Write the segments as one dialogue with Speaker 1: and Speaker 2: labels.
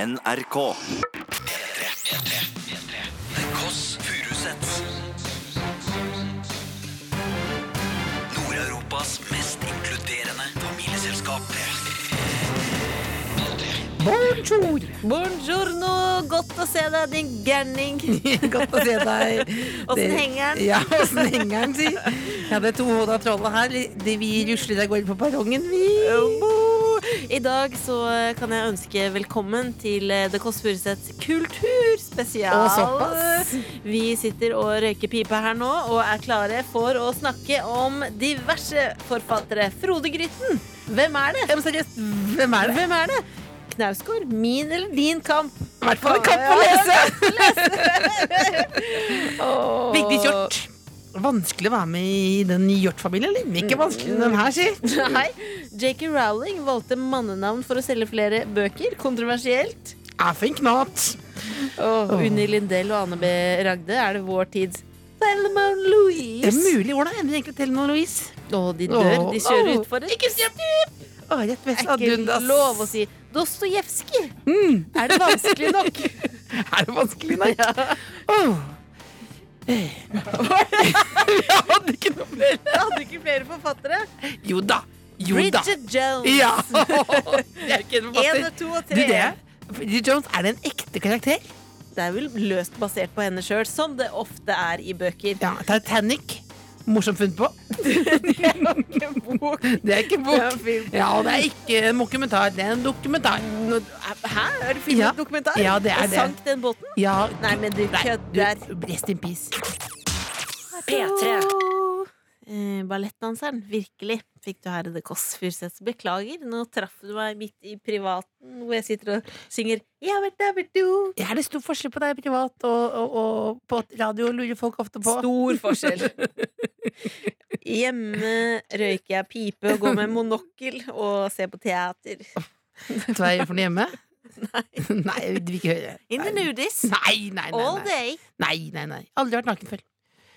Speaker 1: NRK.
Speaker 2: The Koss Furusets. Nord-Europas mest inkluderende familieselskap.
Speaker 3: Bonjour!
Speaker 4: Buongiorno, godt å se deg, din gærning.
Speaker 3: Godt å se deg.
Speaker 4: Åssen
Speaker 3: Det-
Speaker 4: henger den?
Speaker 3: Ja, åssen henger den, si. Jeg hadde to hoder av trollet her. Det vi rusler av gårde på perrongen, vi.
Speaker 4: Oh. I dag så eh, kan jeg ønske velkommen til eh, The Kåss Furuseths kulturspesial.
Speaker 3: Og såpass.
Speaker 4: Vi sitter og røyker pipe her nå og er klare for å snakke om diverse forfattere. Frode Grytten, hvem er det?
Speaker 3: Ja, men seriøst, hvem er det?
Speaker 4: Hvem er det? Knausgård, min eller din kamp?
Speaker 3: I hvert fall en kapp å lese!
Speaker 4: Åh.
Speaker 3: Vigdis Hjort. Vanskelig å være med i den Hjort-familien, eller?
Speaker 4: Mm.
Speaker 3: Ikke vanskelig den her, si.
Speaker 4: Nei. J.K. Rowling valgte mannenavn for å selge flere bøker. Kontroversielt.
Speaker 3: Er for en knat.
Speaker 4: Og
Speaker 3: Åh.
Speaker 4: Unni Lindell og Anne B. Ragde er det vår tids Thelma og
Speaker 3: Det er
Speaker 4: Louise.
Speaker 3: mulig. Hvordan ender egentlig Telenor og Louise?
Speaker 4: Og de dør. De kjører
Speaker 3: Åh.
Speaker 4: utfor et
Speaker 3: Ikke si at- Å, rett ved
Speaker 4: er ikke
Speaker 3: Sadundas.
Speaker 4: lov å si Dostojevskij.
Speaker 3: Mm.
Speaker 4: Er det vanskelig nok?
Speaker 3: Er det vanskelig, nei? Åh. Eh. Jeg hadde ikke noe mer.
Speaker 4: Jeg hadde ikke flere forfattere.
Speaker 3: Jo da. Jo da.
Speaker 4: Bridget Jones.
Speaker 3: Ja! Det er ikke en
Speaker 4: Én
Speaker 3: forfatter.
Speaker 4: og to og
Speaker 3: Du,
Speaker 4: tre.
Speaker 3: det er- Bridget Jones, er det en ekte karakter?
Speaker 4: Det er vel løst basert på henne sjøl, som det ofte er i bøker.
Speaker 3: Ja, Titanic. Morsomt funnet på. Det er ikke en bok.
Speaker 4: Det er en film.
Speaker 3: Ja, og det er ikke en dokumentar. Det er en dokumentar.
Speaker 4: Hæ? Er det film
Speaker 3: Ja.
Speaker 4: og dokumentar?
Speaker 3: Ja, det er
Speaker 4: og
Speaker 3: det.
Speaker 4: sank den båten?
Speaker 3: Ja,
Speaker 4: Nei, men du
Speaker 3: du,
Speaker 4: kødder.
Speaker 3: Rest in peace.
Speaker 4: P3. Eh, ballettdanseren, virkelig, fikk du her i The Kåss Furuseths. Beklager, nå traff du meg midt i privaten hvor jeg sitter og synger «Ja, vet du, vet du».
Speaker 3: Er det stor forskjell på deg privat og, og, og på radio? Lurer folk ofte på.
Speaker 4: Stor forskjell. Hjemme røyker jeg pipe og går med monokkel og ser på teater.
Speaker 3: Vet du hva jeg gjør for noe hjemme? Nei. nei, jeg vil ikke høre.
Speaker 4: In the
Speaker 3: Nei,
Speaker 4: nudies.
Speaker 3: nei, nei.
Speaker 4: All
Speaker 3: Nei,
Speaker 4: day.
Speaker 3: nei, nei, nei. Aldri vært naken før.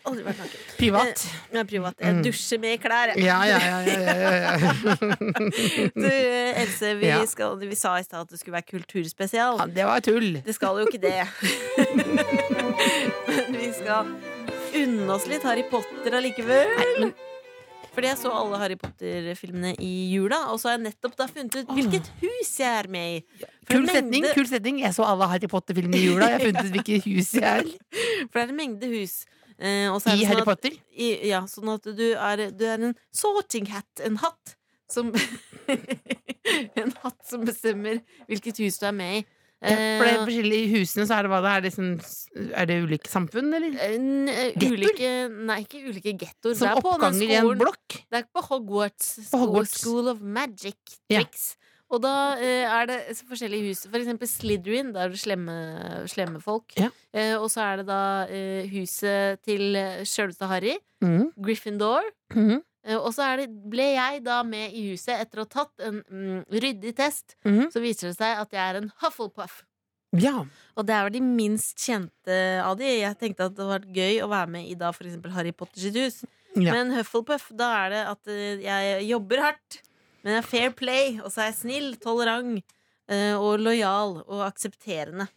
Speaker 4: Aldri vært naken.
Speaker 3: Privat.
Speaker 4: Jeg er privat. Jeg
Speaker 3: Mm.
Speaker 4: dusjer med klær, jeg.
Speaker 3: Ja, ja, ja. ja, ja, ja, ja.
Speaker 4: Du, eh, Else, vi,
Speaker 3: Ja.
Speaker 4: skal, vi sa i stad at det skulle være kulturspesial.
Speaker 3: Ja, det var tull.
Speaker 4: Det skal jo ikke det. Men vi skal unne oss litt Harry Potter allikevel. Fordi jeg så alle Harry Potter-filmene i jula, og så har jeg nettopp da funnet ut hvilket hus jeg er med i. For
Speaker 3: Kul
Speaker 4: det er
Speaker 3: setning.
Speaker 4: mengde-
Speaker 3: kul setning Jeg så alle Harry Potter-filmene i jula. Jeg har funnet ut hvilket hus jeg er
Speaker 4: For det er en mengde hus. Eh, og så
Speaker 3: i
Speaker 4: er det
Speaker 3: Harry
Speaker 4: sånn at,
Speaker 3: Potter.
Speaker 4: i, ja, sånn at du er, du er en sorting hat, en hatt som En hatt som bestemmer hvilket hus du er med i.
Speaker 3: Ja, For
Speaker 4: Eh,
Speaker 3: det er forskjellige i husene så er det hva det er. Det sånn, er det ulike samfunn, eller?
Speaker 4: En, eh,
Speaker 3: Gettoer?
Speaker 4: Ulike, nei, ikke ulike gettoer. Det
Speaker 3: Som
Speaker 4: er på den
Speaker 3: oppganger i en
Speaker 4: skolen-
Speaker 3: blokk?
Speaker 4: Det er ikke på Hogwarts.
Speaker 3: På
Speaker 4: School,
Speaker 3: Hogwarts.
Speaker 4: School of Magic
Speaker 3: Ja.
Speaker 4: Tricks. Og da eh, er det så forskjellige hus. For eksempel Slytherin, da er det slemme, slemme folk.
Speaker 3: Ja.
Speaker 4: Eh, og så er det da eh, huset til eh, sjølveste Harry,
Speaker 3: Mm.
Speaker 4: Gryffindor.
Speaker 3: Mhm.
Speaker 4: Eh, og så er det, ble jeg da med i huset etter å ha tatt en mm, ryddig test.
Speaker 3: Mhm.
Speaker 4: Så viser det seg at jeg er en Hufflepuff.
Speaker 3: Ja.
Speaker 4: Og det er vel de minst kjente av de. Jeg tenkte at det var gøy å være med i da for eksempel Harry Potter sitt hus.
Speaker 3: ja.
Speaker 4: Men Hufflepuff, da er det at eh, jeg jobber hardt, men jeg er fair play, og så er jeg snill, tolerant eh, og lojal og aksepterende.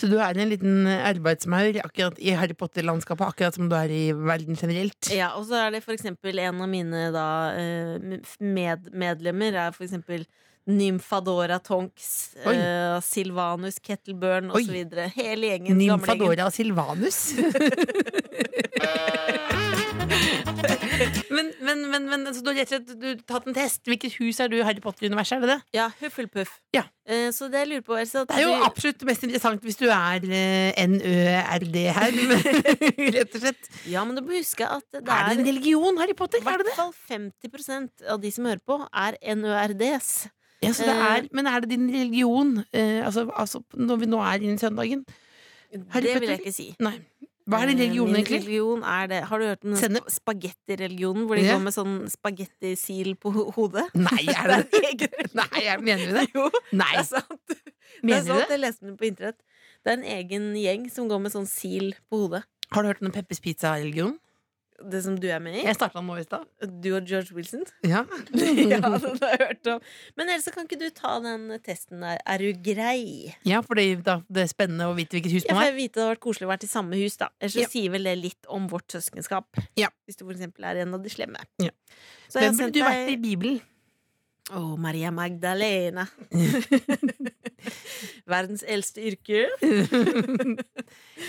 Speaker 3: Så du er en liten arbeidsmaur akkurat i Harry Potter-landskapet, akkurat som du er i verden generelt?
Speaker 4: Ja, og så er det for eksempel en av mine da eh, med medlemmer er for eksempel Nymfadora Tonks,
Speaker 3: Oi.
Speaker 4: eh, Silvanus Kettleburn
Speaker 3: Oi.
Speaker 4: osv. Hele gjengen. gamlegjengen.
Speaker 3: Nymfadora Silvanus. men men, men, men altså, du har rett og slett du har tatt en test. Hvilket hus er du i Harry Potter-universet? Er det det?
Speaker 4: Ja, Hufflepuff.
Speaker 3: Ja.
Speaker 4: Eh, så det jeg lurer på, Else at
Speaker 3: Det er jo
Speaker 4: du-
Speaker 3: absolutt mest interessant hvis du er eh, NØRD her, men- rett og slett.
Speaker 4: Ja, men du må huske at det
Speaker 3: Er det en religion, Harry Potter? Er
Speaker 4: i
Speaker 3: det
Speaker 4: hvert
Speaker 3: det?
Speaker 4: fall 50 av de som hører på, er NØRDs.
Speaker 3: Ja, så det er, Eh, men er det din religion? eh, altså, altså, når vi nå er inne i søndagen? Harry
Speaker 4: det vil
Speaker 3: Potter?
Speaker 4: jeg ikke si. Eh,
Speaker 3: Nei. Hva er din religion,
Speaker 4: Min
Speaker 3: egentlig?
Speaker 4: religion er det. Har du hørt den
Speaker 3: Sennep?
Speaker 4: sp- spagettireligionen hvor de
Speaker 3: Ja.
Speaker 4: går med sånn spagettisil på ho- hodet?
Speaker 3: Nei, er det
Speaker 4: Det er en egen religion.
Speaker 3: Nei, jeg- mener du det?
Speaker 4: Jo,
Speaker 3: Nei,
Speaker 4: det er sant. Det er
Speaker 3: mener du
Speaker 4: sant.
Speaker 3: det?
Speaker 4: Jeg leste den på internett. Det er en egen gjeng som går med sånn sil på hodet.
Speaker 3: Har du hørt om Peppers Pizza-religion?
Speaker 4: det som du er med i.
Speaker 3: Jeg starta nå i stad.
Speaker 4: Du og George Wilson.
Speaker 3: Ja.
Speaker 4: ja, den har jeg hørt om. Men Else, kan ikke du ta den testen der? Er du grei?
Speaker 3: ja, for det, da- det er spennende å vite hvilket hus
Speaker 4: Ja,
Speaker 3: man
Speaker 4: for
Speaker 3: er.
Speaker 4: jeg vite det hadde vært koselig å være i samme hus, da. Ellers så
Speaker 3: Ja.
Speaker 4: sier vel det litt om vårt søskenskap.
Speaker 3: Ja.
Speaker 4: Hvis du for eksempel er en av de slemme.
Speaker 3: Ja.
Speaker 4: Så jeg
Speaker 3: Hvem burde
Speaker 4: har sendt
Speaker 3: du vært i
Speaker 4: deg
Speaker 3: Bibelen?
Speaker 4: Å, Maria Magdalena. Verdens eldste yrke.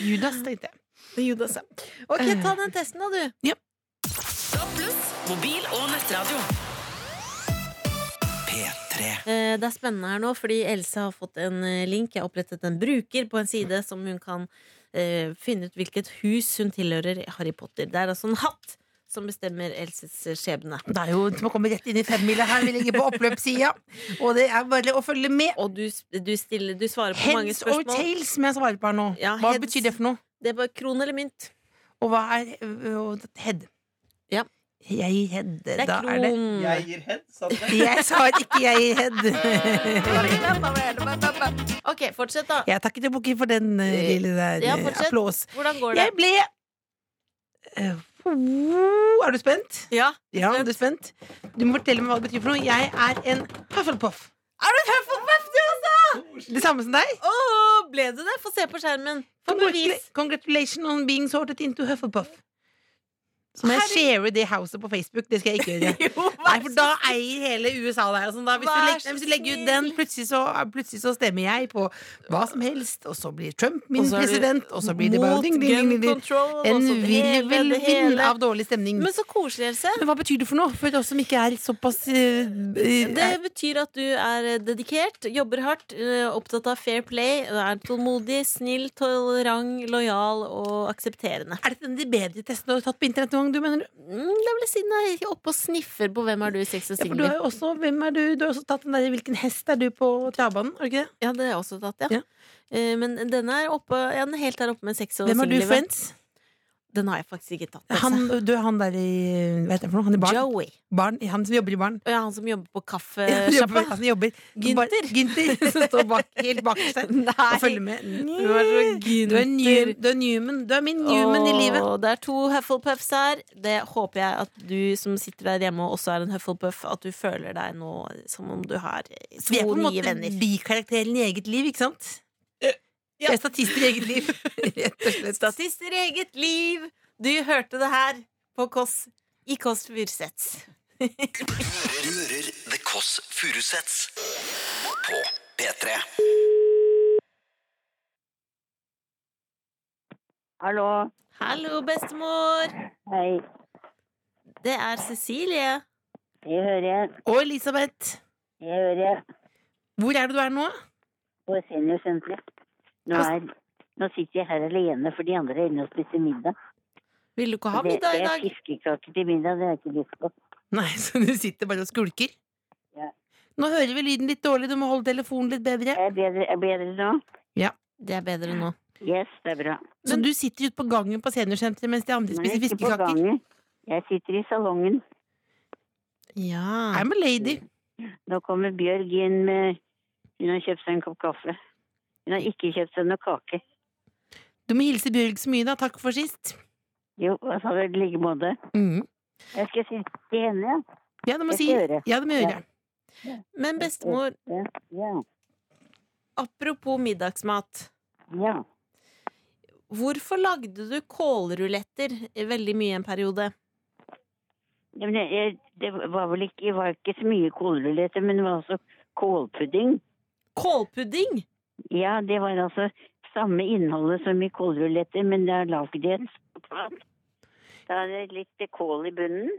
Speaker 3: Judas, tenkte jeg.
Speaker 4: Judas, ja. Ok, ta den testen da, du.
Speaker 1: Mobil og nettradio.
Speaker 2: P3.
Speaker 4: Eh, Det er spennende her nå, fordi Else har fått en eh, link. Jeg har opprettet en bruker på en side som hun kan eh, finne ut hvilket hus hun tilhører i Harry Potter. Det er altså en hatt som bestemmer Elses eh, skjebne.
Speaker 3: Det er jo som å komme rett inn i femmila her. Vi ligger på oppløpssida. Og det er bare å følge med.
Speaker 4: Og du, s- du, stiller, du svarer på mange
Speaker 3: Heads or
Speaker 4: spørsmål.
Speaker 3: tails, som jeg svarer på her nå.
Speaker 4: Ja,
Speaker 3: hva
Speaker 4: heads.
Speaker 3: betyr det for noe?
Speaker 4: Det er bare kron eller mynt.
Speaker 3: Og hva er ø, og head?
Speaker 4: Ja.
Speaker 3: Jeg gir head.
Speaker 4: Det er
Speaker 3: da
Speaker 4: kron.
Speaker 3: er det
Speaker 5: Jeg gir head, sa du det?
Speaker 3: Jeg sa ikke jeg gir head.
Speaker 4: Ok, fortsett, da.
Speaker 3: Jeg takker til bukken for den ø, lille der
Speaker 4: Ja,
Speaker 3: ø,
Speaker 4: fortsett.
Speaker 3: applaus.
Speaker 4: Hvordan går det?
Speaker 3: Jeg ble Ø, oh, Er du spent?
Speaker 4: Ja.
Speaker 3: Ja, er du spent? Du må fortelle meg hva det betyr for noe. Jeg er en Hufflepuff.
Speaker 4: Er du tøff og bøff, du også?
Speaker 3: Det samme som deg.
Speaker 4: Åh, altså? ble du det? Få se på skjermen. Få bevis.
Speaker 3: Congratula- Congratulations on being sorted into Hufflepuff. Så må jeg
Speaker 4: Herre-
Speaker 3: share det huset på Facebook. Det skal jeg ikke gjøre.
Speaker 4: Jo,
Speaker 3: Nei, for da eier hele USA deg. og Sånn, da. Hvis, du
Speaker 4: Vær
Speaker 3: legger,
Speaker 4: så
Speaker 3: nei, hvis du legger ut
Speaker 4: snill.
Speaker 3: den, plutselig så, plutselig så stemmer jeg på hva som helst, og så blir Trump min
Speaker 4: Og så er det
Speaker 3: president, og så blir det bare
Speaker 4: mot
Speaker 3: ding, ding, ding,
Speaker 4: gun
Speaker 3: ding, ding.
Speaker 4: control, og
Speaker 3: En
Speaker 4: så det hele, det
Speaker 3: virvelvind
Speaker 4: hele.
Speaker 3: av dårlig stemning.
Speaker 4: Men så koselig, Else.
Speaker 3: Men hva betyr det for noe? For oss som ikke er såpass eh, eh,
Speaker 4: Det betyr at du er eh, dedikert, jobber hardt, eh, opptatt av fair play, er tålmodig, snill, tolerant, lojal og aksepterende.
Speaker 3: Er dette en av de bedre testene du har tatt på internett noen gang, du, mener du?
Speaker 4: Mm, Det vil jeg si når jeg er oppe og sniffer på hvem er du i sex og
Speaker 3: Ja, for du har
Speaker 4: singler.
Speaker 3: jo også, hvem er du? Du har også tatt den der 'Hvilken hest er du?' på travbanen, har du ikke det?
Speaker 4: Ja, det har jeg også tatt, ja.
Speaker 3: Ja.
Speaker 4: Eh, Men denne er oppe, ja, den er helt der oppe med sex og
Speaker 3: Hvem er du,
Speaker 4: singellivet.
Speaker 3: Friends?
Speaker 4: Den har jeg faktisk ikke tatt.
Speaker 3: Han,
Speaker 4: altså.
Speaker 3: du er han der i Hva heter det for noe? Han i barn?
Speaker 4: Joey.
Speaker 3: barn han som jobber i barn.
Speaker 4: Ja, han som jobber på
Speaker 3: Han jobber, han
Speaker 4: kaffesjappa.
Speaker 3: som jobber
Speaker 4: Günther.
Speaker 3: Gynter som står bak, helt bakerst der og følger med.
Speaker 4: Du er så
Speaker 3: Du er,
Speaker 4: Günther.
Speaker 3: new, du er Newman. Du er min Newman i livet.
Speaker 4: Åh, Det er to Hufflepuffs her. Det håper jeg at du som sitter der hjemme og også er en Hufflepuff, at du føler deg nå som om du har eh,
Speaker 3: Vi er
Speaker 4: to
Speaker 3: på en
Speaker 4: nye
Speaker 3: måte
Speaker 4: venner. Eh,
Speaker 3: bikarakteren i eget liv, ikke sant? Vi er statister i eget liv. Rett og slett.
Speaker 4: Statister i eget liv! Du hørte det her på Kåss i Kåss Furuseths.
Speaker 2: Du hører The Kåss Furuseths på P3.
Speaker 6: Hallo.
Speaker 4: Hallo, bestemor!
Speaker 6: Hei.
Speaker 4: Det er Cecilie.
Speaker 6: Jeg hører.
Speaker 3: Og Elisabeth,
Speaker 6: Jeg hører
Speaker 3: hvor er det du er nå?
Speaker 6: på seniorsenteret. Nå, er- nå sitter jeg her alene, for de andre er inne og spiser middag.
Speaker 4: Vil du ikke ha
Speaker 6: det,
Speaker 4: middag i
Speaker 6: det er
Speaker 4: dag?
Speaker 6: fiskekaker til middag, det har jeg ikke lyst på.
Speaker 3: Nei, så du sitter bare og skulker?
Speaker 6: Ja.
Speaker 3: Nå hører vi lyden litt dårlig, du må holde telefonen litt bedre.
Speaker 6: Er jeg bedre, er jeg bedre nå?
Speaker 4: Det er bedre nå.
Speaker 6: Yes, det er bra.
Speaker 3: Så du sitter ute på gangen på seniorsenteret mens de andre
Speaker 6: Nå er
Speaker 3: spiser
Speaker 6: jeg ikke på
Speaker 3: fiskekaker?
Speaker 6: gangen. Jeg sitter i salongen.
Speaker 4: Ja.
Speaker 3: I'm a lady.
Speaker 6: Nå kommer Bjørg inn med Hun har kjøpt seg en kopp kaffe. Hun har ikke kjøpt seg noe kake.
Speaker 3: Du må hilse Bjørg så mye, da. Takk for sist.
Speaker 6: Jo, altså, i like måte. Jeg skal si til henne, ja.
Speaker 3: Ja, det må
Speaker 6: Jeg
Speaker 3: si.
Speaker 6: skal gjøre.
Speaker 3: Ja, det må jeg gjøre.
Speaker 4: Men bestemor,
Speaker 6: Ja.
Speaker 4: apropos middagsmat.
Speaker 6: ja.
Speaker 4: Hvorfor lagde du kålruletter veldig mye en periode?
Speaker 6: Ja, men jeg, jeg, det var vel ikke, det var ikke så mye kålruletter, men det var altså kålpudding.
Speaker 4: Kålpudding?
Speaker 6: Ja, det var altså samme innholdet som i kålruletter, men det er lagd i en sprat. Da er det litt kål i bunnen,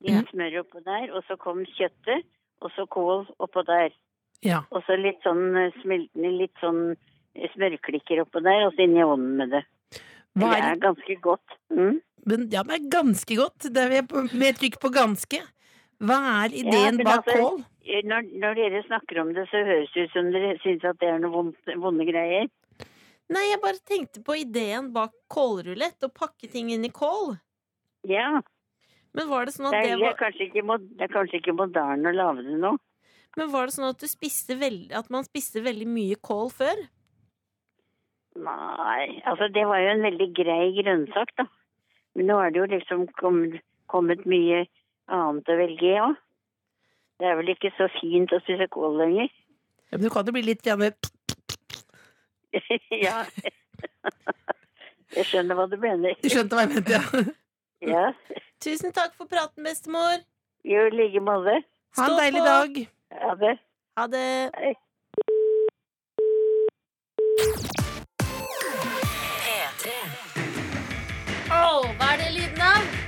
Speaker 6: litt
Speaker 4: Ja.
Speaker 6: smør oppå der, og så kom kjøttet, og så kål oppå der.
Speaker 3: Ja.
Speaker 6: Og så litt sånn eh, smeltende, litt sånn eh, smørklikker oppå der, og så inn i ovnen med det.
Speaker 3: Hva
Speaker 6: Det
Speaker 3: er det?
Speaker 6: er ganske godt. Mm.
Speaker 3: Men, ja, det er ganske godt. Det er med- med trykk på ganske. Hva er
Speaker 6: Ja,
Speaker 3: ideen
Speaker 6: men
Speaker 3: bak
Speaker 6: altså-
Speaker 3: kål?
Speaker 6: Eh, Når, når dere snakker om det, så høres det ut som dere syns at det er noen vondt- vonde greier.
Speaker 4: Nei, jeg bare tenkte på ideen bak kålrulett, å pakke ting inn i kål.
Speaker 6: Ja,
Speaker 4: Men var det sånn at,
Speaker 6: det er,
Speaker 4: det
Speaker 6: det er
Speaker 4: var,
Speaker 6: kanskje ikke, mod- det er kanskje ikke moderne å lage det nå.
Speaker 4: men var det sånn at, du spiste veld, at man spiste veldig mye kål før?
Speaker 6: Nei, altså det var jo en veldig grei grønnsak, da. Men nå er det jo liksom kom, kommet mye annet å velge i òg. Det er vel ikke så fint å spise kål lenger.
Speaker 3: Ja, men du kan jo bli litt gjerne
Speaker 6: ja. Jeg skjønner hva du mener.
Speaker 3: Du skjønte hva jeg mente, ja.
Speaker 6: Ja.
Speaker 4: Tusen takk for praten, bestemor.
Speaker 6: Jo, i like måte.
Speaker 3: Ha en
Speaker 4: Stå
Speaker 3: deilig
Speaker 4: på.
Speaker 3: dag.
Speaker 6: Ha det.
Speaker 4: Ha det. Åh, hva er det lyden av?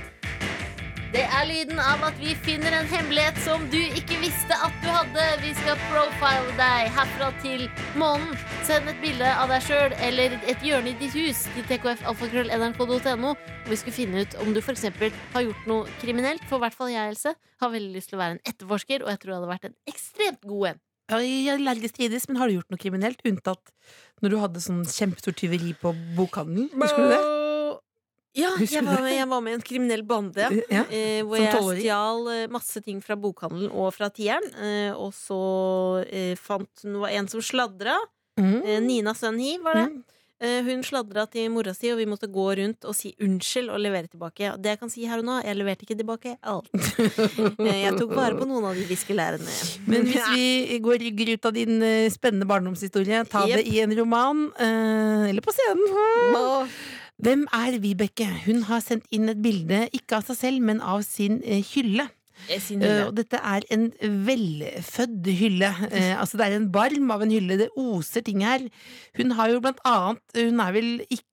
Speaker 4: Det er lyden av at vi finner en hemmelighet som du ikke visste at du hadde. Vi skal profile deg herfra til månen. Send et bilde av deg sjøl eller et hjørne i ditt hus til tkfalfakrøllnrk.no. Og vi skulle finne ut om du f.eks. har gjort noe kriminelt. For i hvert fall jeg, Else, har veldig lyst til å være en etterforsker, og jeg tror jeg hadde vært en ekstremt god en.
Speaker 3: Ja, I allergisk tidis, men har du gjort noe kriminelt? Unntatt når du hadde sånn kjempestort tyveri på bokhandelen? Husker du det?
Speaker 4: Ja,
Speaker 3: Husker
Speaker 4: jeg
Speaker 3: du
Speaker 4: var,
Speaker 3: det?
Speaker 4: med, jeg var med i en kriminell bande.
Speaker 3: Ja.
Speaker 4: Ja. Eh, hvor
Speaker 3: Som
Speaker 4: jeg
Speaker 3: tolvåring?
Speaker 4: stjal eh, masse ting fra bokhandelen og fra tieren. Eh, og så eh, fant hun det var en som sladra.
Speaker 3: Mm.
Speaker 4: Eh, Nina Sønnhi var det. Eh, hun sladra til mora si, og vi måtte gå rundt og si unnskyld og levere tilbake. Og Det jeg kan si her og nå, jeg leverte ikke tilbake alt. Eh, jeg tok vare på noen av de viskelærene.
Speaker 3: Men hvis vi går rygger ut av din eh, spennende barndomshistorie, ta det
Speaker 4: Jepp.
Speaker 3: i en roman, eh, eller på scenen Hvem er Vibeke? Hun har sendt inn et bilde, ikke av seg selv, men av sin eh, hylle.
Speaker 4: Eh, sin
Speaker 3: Eh,
Speaker 4: hylle.
Speaker 3: Og dette er en velfødd hylle. Eh, altså det er en barm av en hylle. Det oser ting her. Hun har jo blant annet Hun er vel ikke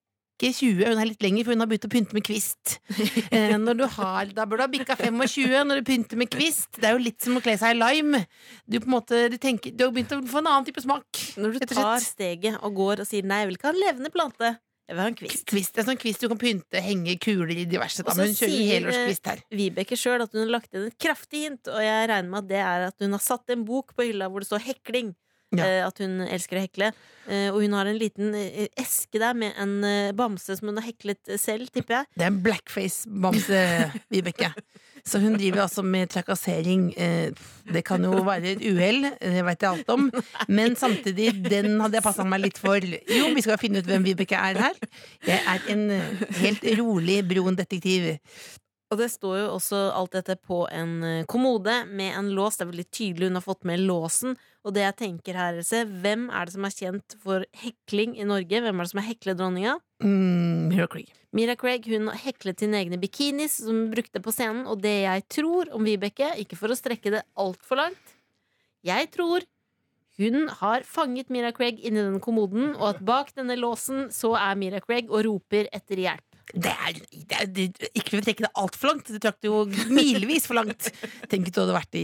Speaker 3: 20, hun er litt lenger, for hun har begynt å pynte med kvist. Eh, når du har, da bør du ha bikka 25 når du pynter med kvist. Det er jo litt som å kle seg i lime. Du, på en måte, du, tenker, du har begynt å få en annen type smak.
Speaker 4: Når du
Speaker 3: rett og
Speaker 4: tar
Speaker 3: slett.
Speaker 4: steget og går og sier nei, jeg vil ikke ha en levende plante, jeg vil ha en kvist.
Speaker 3: Kvist, det er sånn kvist du kan pynte, henge kuler i diverse. Da.
Speaker 4: Og så
Speaker 3: Men hun kjører
Speaker 4: sier,
Speaker 3: helårskvist her.
Speaker 4: Vibeke sjøl at hun har lagt inn et kraftig hint, og jeg regner med at det er at hun har satt en bok på hylla hvor det står hekling.
Speaker 3: Ja.
Speaker 4: Eh, At hun elsker å hekle. Eh, Og hun har en liten eh, eske der med en eh, bamse som hun har heklet eh, selv, tipper jeg.
Speaker 3: Det er en blackface-bamse, Vibeke. Så hun driver altså med trakassering. Eh, Det kan jo være et uhell, eh, det veit jeg alt om. Men samtidig, den hadde jeg passa meg litt for. Jo, vi skal finne ut hvem Vibeke er her. Jeg er en eh, helt rolig, brun detektiv.
Speaker 4: Og det står jo også alt dette på en eh, kommode med en lås. Det er veldig tydelig hun har fått med låsen. Og det jeg tenker her, Else, hvem er det som er kjent for hekling i Norge? Hvem er det som er hekledronninga?
Speaker 3: Mm, Mira Krieg.
Speaker 4: Mira Craig hun heklet sine egne bikinis som hun brukte på scenen, og det jeg tror om Vibeke, ikke for å strekke det altfor langt Jeg tror hun har fanget Mira Craig inni den kommoden, og at bak denne låsen så er Mira Craig og roper etter hjelp.
Speaker 3: Det er, det er det, Ikke for å trekke det altfor langt, det trakk det jo milevis for langt. Tenk hvis du hadde vært i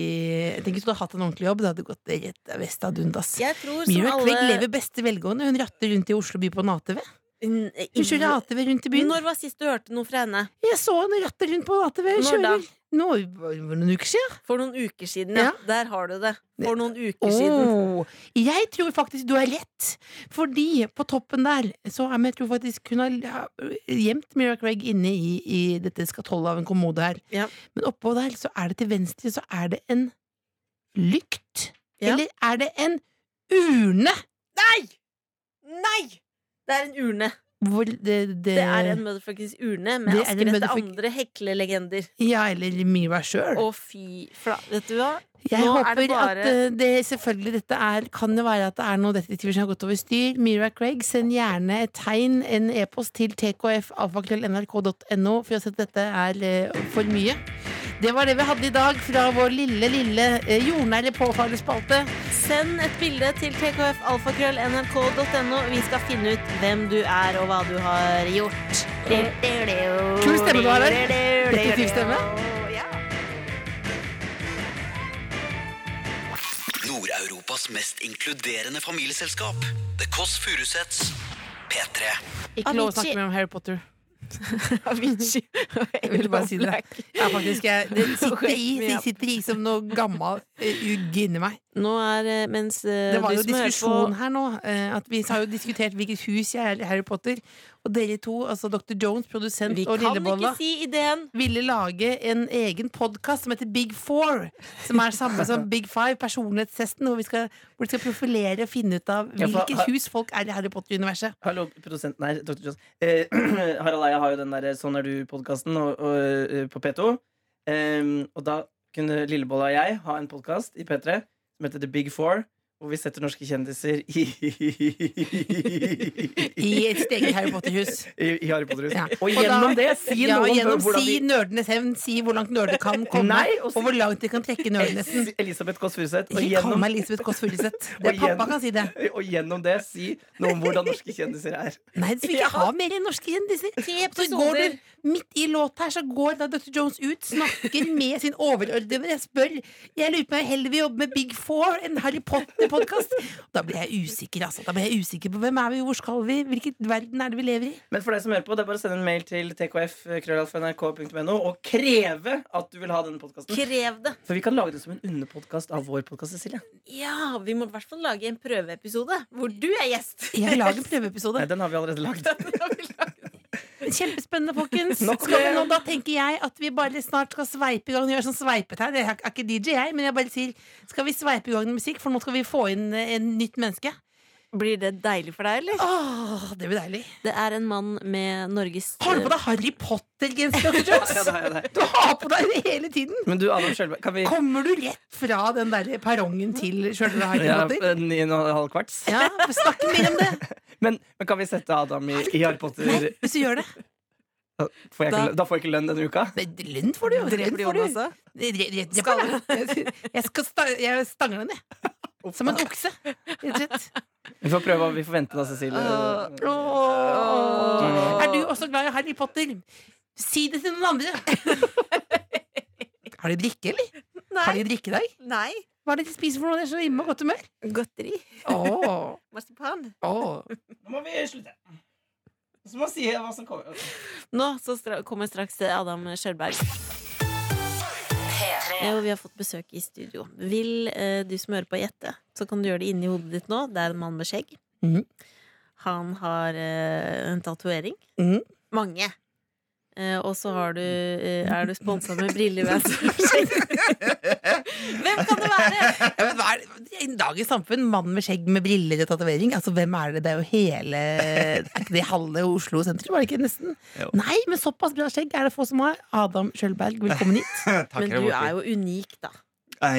Speaker 3: Tenk hvis du hadde hatt en ordentlig jobb, det hadde gått rett vest av dundas.
Speaker 4: Jeg tror som
Speaker 3: Mira Craig
Speaker 4: alle
Speaker 3: lever beste velgående. Hun ratter rundt i Oslo by på en ATV.
Speaker 4: Hun-
Speaker 3: Hun kjører ATV rundt i byen.
Speaker 4: Når var sist du hørte noe fra henne?
Speaker 3: Jeg så henne ratte rundt på en ATV.
Speaker 4: Når
Speaker 3: Kjører.
Speaker 4: da?
Speaker 3: Nå, var det noen uker siden.
Speaker 4: For noen uker siden,
Speaker 3: Ja.
Speaker 4: ja. Der har du det. For noen uker siden.
Speaker 3: Åh, jeg tror faktisk du har rett, fordi på toppen der så er men jeg tror faktisk hun har ja, gjemt Mira Craig inne i, i dette skatollet av en kommode her.
Speaker 4: Ja.
Speaker 3: Men oppå der så er det til venstre så er det en lykt.
Speaker 4: Ja.
Speaker 3: Eller er det en urne?
Speaker 4: Nei! Nei! Det er en urne.
Speaker 3: Hvor det, det,
Speaker 4: Det er en motherfuckings urne med
Speaker 3: Det er en
Speaker 4: Asker etter
Speaker 3: motherfuck-
Speaker 4: andre heklelegender.
Speaker 3: Ja, eller Mira sjøl.
Speaker 4: Å, fy fla... Vet du hva?
Speaker 3: Jeg
Speaker 4: Nå er
Speaker 3: håper
Speaker 4: det bare-
Speaker 3: at eh, det selvfølgelig dette er Kan jo være at det er noen detektiver som har gått over styr. Mira Craig, send gjerne et tegn, en e-post til tkfalfakrøllnrk.no for å si at dette er eh, for mye. Det var det vi hadde i dag fra vår lille, lille eh, jordnære påfarelspalte.
Speaker 4: Send et bilde til tkfalfakrøllnrk.no. Vi skal finne ut hvem du er, og hva du har gjort.
Speaker 3: Kul stemme du har her. Detektivstemme.
Speaker 2: Nord-Europas mest inkluderende familieselskap. The Kåss Furuseths. P3.
Speaker 3: Ikke lov å snakke mer om Harry Potter.
Speaker 4: Avicii.
Speaker 3: Jeg ville bare si det. Ja, faktisk, jeg, det sitter i, det sitter i som noe gammel eh, ugg inni meg.
Speaker 4: Nå er eh, mens eh,
Speaker 3: Det var
Speaker 4: du
Speaker 3: jo
Speaker 4: som hører
Speaker 3: diskusjon her nå. eh, At vi har jo diskutert hvilket hus jeg er i Harry Potter. Og dere to, altså Dr. Jones,
Speaker 4: på
Speaker 3: produsent
Speaker 4: Vi
Speaker 3: og
Speaker 4: kan ikke
Speaker 3: Lillebolla,
Speaker 4: si ideen.
Speaker 3: ville lage en egen podkast som heter Big Four. Som er samme som Big Five, personlighetstesten, hvor vi skal, hvor vi skal profilere og finne ut av
Speaker 1: Ja, for-
Speaker 3: hvilket hus folk er i Harry Potter-universet.
Speaker 1: Hallo, produsenten her. Dr. Johns. Eh, Harald Eia jeg har jo den der Sånn er du-podkasten eh, på P2. Ehm, og da kunne Lillebolla og jeg ha en podkast i P3 som heter The Big Four, hvor vi setter norske kjendiser i
Speaker 3: I et steget Harry Potter-hus.
Speaker 1: I, i Harry Potter-hus.
Speaker 3: Ja.
Speaker 1: Og
Speaker 3: da-
Speaker 1: gjennom det si
Speaker 3: Ja,
Speaker 1: noe om
Speaker 3: gjennom
Speaker 1: hvordan
Speaker 3: si nerdenes hevn, si hvor langt nerder kan komme,
Speaker 1: Nei,
Speaker 3: og,
Speaker 1: og si-
Speaker 3: hvor langt de kan trekke nerdenesen.
Speaker 1: vi Elisabeth Kåss Furuseth. Og,
Speaker 3: Ikke kall
Speaker 1: gjennom-
Speaker 3: meg Elisabeth Kåss Furuseth. Det er
Speaker 1: Og gjennom-
Speaker 3: pappa kan si det.
Speaker 1: og gjennom det si noe om hvordan norske kjendiser er.
Speaker 3: Nei, det skal vi ikke ha mer enn norske kjendiser. Så går du midt i låta her, så går da Dr. Jones ut, snakker med sin overordnede. Jeg spør Jeg lurer på om jeg heller vil jobbe med Big Four enn Harry Potter-podkast. Da blir jeg usikker, altså. Da blir jeg usikker på hvem er vi, hvor skal vi, hvilken verden er det vi lever i?
Speaker 1: Men for deg som hører på, det er bare å sende en mail til tkf.nrk.no og kreve at du vil ha denne podkasten.
Speaker 4: Krev det.
Speaker 1: For vi kan lage det som en underpodkast av vår podkast, Cecilie.
Speaker 4: Ja, vi må i hvert fall lage en prøveepisode hvor du er gjest.
Speaker 3: Jeg vil lage en
Speaker 1: Nei,
Speaker 3: prøveepisode.
Speaker 1: den har vi allerede lagd.
Speaker 3: Kjempespennende, folkens.
Speaker 1: Nok om
Speaker 3: Skal vi
Speaker 1: det.
Speaker 3: nå, da tenker jeg at vi bare snart skal sveipe i gang. Gjør sånn sveipetegn. Jeg er ikke DJ, jeg, men jeg bare sier skal vi sveipe i gang med musikk, for nå skal vi få inn eh, en nytt menneske.
Speaker 4: Blir det deilig for deg, eller?
Speaker 3: Åh, det blir deilig.
Speaker 4: Det er en mann med Norges
Speaker 3: Har du på deg Harry Potter-genser, Dr.
Speaker 1: Ja,
Speaker 3: Jones?
Speaker 1: det har jeg det.
Speaker 3: Du har på deg det hele tiden!
Speaker 1: Men du, Adam Skjølberg, kan vi
Speaker 3: Kommer du rett fra den der perrongen til sjølve Harry
Speaker 1: ja, eh.
Speaker 3: Potter?
Speaker 1: Ni og en halv kvarts?
Speaker 3: Ja, snakk mer om det!
Speaker 1: Men, men kan vi sette Adam i, i Harry
Speaker 3: Nei,
Speaker 1: Potter?
Speaker 3: hvis du gjør det.
Speaker 1: Da får jeg ikke, lønn- da får jeg ikke lønn denne uka?
Speaker 3: Men Lønn får du jo.
Speaker 4: Dreper
Speaker 3: Lønn
Speaker 4: du
Speaker 3: får
Speaker 4: Jonas
Speaker 3: du.
Speaker 4: også?
Speaker 3: Dre- dre- dreper deg. Jeg, skal sta jeg stanger den, jeg. Som en okse, rett og slett.
Speaker 1: Vi får prøve hva vi forventer da, Cecilie.
Speaker 3: Åh. Er du også glad i Harry Potter? Si det til noen andre. Har de drikke, eller? Har de drikke i dag?
Speaker 4: Nei.
Speaker 3: Hva er det de spiser for noe? Det er så innmari godt humør.
Speaker 4: Godteri.
Speaker 3: Åh.
Speaker 4: Marsipan.
Speaker 3: Åh.
Speaker 1: Nå må vi slutte. Så må man si hva som kommer.
Speaker 4: Nå så stra kommer straks Adam Skjølberg. Ja, og vi har fått besøk i studio. Vil eh, du som hører på, gjette, så kan du gjøre det inni hodet ditt nå. Det er en mann med skjegg.
Speaker 3: Mhm.
Speaker 4: Han har eh, en tatovering.
Speaker 3: Mhm.
Speaker 4: Mange. Eh, og så har du, eh, er du sponsa med briller. ved siden av skjegg. Hvem kan det være?
Speaker 3: Ja, men hva er det? I dagens samfunn, mann med skjegg med briller og tatovering. Altså, hvem er det? Det er jo hele Er ikke det halve Oslo sentrum? Var det ikke nesten?
Speaker 5: Jo.
Speaker 3: Nei, men såpass bra skjegg er det få som har. Adam Sjølberg, velkommen hit.
Speaker 5: Takk,
Speaker 4: Men du er jo unik, da.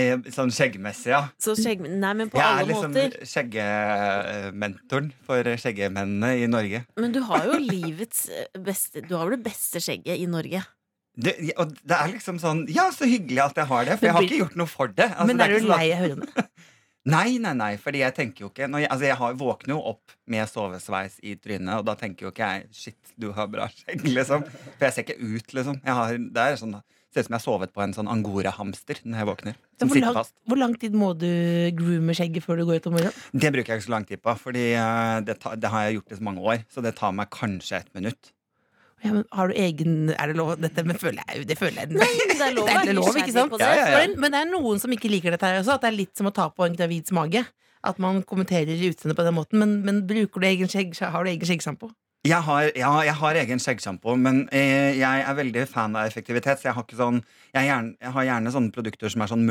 Speaker 5: jo Sånn skjeggmessig, ja.
Speaker 4: Så skjegg... Nei, men på
Speaker 5: Jeg er
Speaker 4: alle
Speaker 5: liksom
Speaker 4: måter.
Speaker 5: skjeggementoren for skjeggemennene i Norge.
Speaker 4: Men du har jo livets eh, beste Du har vel det beste skjegget i Norge.
Speaker 5: Det, og det er liksom sånn Ja, så hyggelig at jeg har det, for jeg har ikke gjort noe for det. Altså,
Speaker 3: men
Speaker 5: det
Speaker 3: er
Speaker 5: ikke
Speaker 3: du
Speaker 5: sånn at-
Speaker 3: lei av hørende?
Speaker 5: Nei, nei, nei, fordi jeg tenker jo ikke når jeg, altså jeg har, våkner jo opp med sovesveis i trynet, og da tenker jo ikke jeg 'shit, du har bra skjegg', liksom. For jeg ser ikke ut, liksom. Jeg har, det er sånn, ser ut som jeg har sovet på en sånn angorahamster når jeg våkner. Som
Speaker 3: Hvor
Speaker 5: sitter
Speaker 3: lang,
Speaker 5: fast.
Speaker 3: hvor lang tid må du groome skjegget før du går ut om morgenen?
Speaker 5: Det bruker jeg ikke så lang tid på, Fordi eh, det, ta, det har jeg gjort i så mange år. Så det tar meg kanskje et minutt.
Speaker 3: Ja, men har du egen Er det lov? Dette men føler jeg, det føler jeg
Speaker 4: Men det er lov å
Speaker 3: Det er
Speaker 4: være
Speaker 3: lov,
Speaker 4: nysgjerrig
Speaker 3: ikke sant?
Speaker 4: på det.
Speaker 5: Ja, ja, ja.
Speaker 3: Men, men det er noen som ikke liker dette her også, at det er litt som å ta på en gravids mage. At man kommenterer utseendet på den måten. Men, men bruker du egen skjegg, har du egen skjeggsjampo?
Speaker 5: Jeg har, ja, jeg har egen skjeggsjampo, men eh, jeg er veldig fan av effektivitet. Så jeg har, ikke sånn, jeg, gjerne, jeg har gjerne sånne produkter som er sånn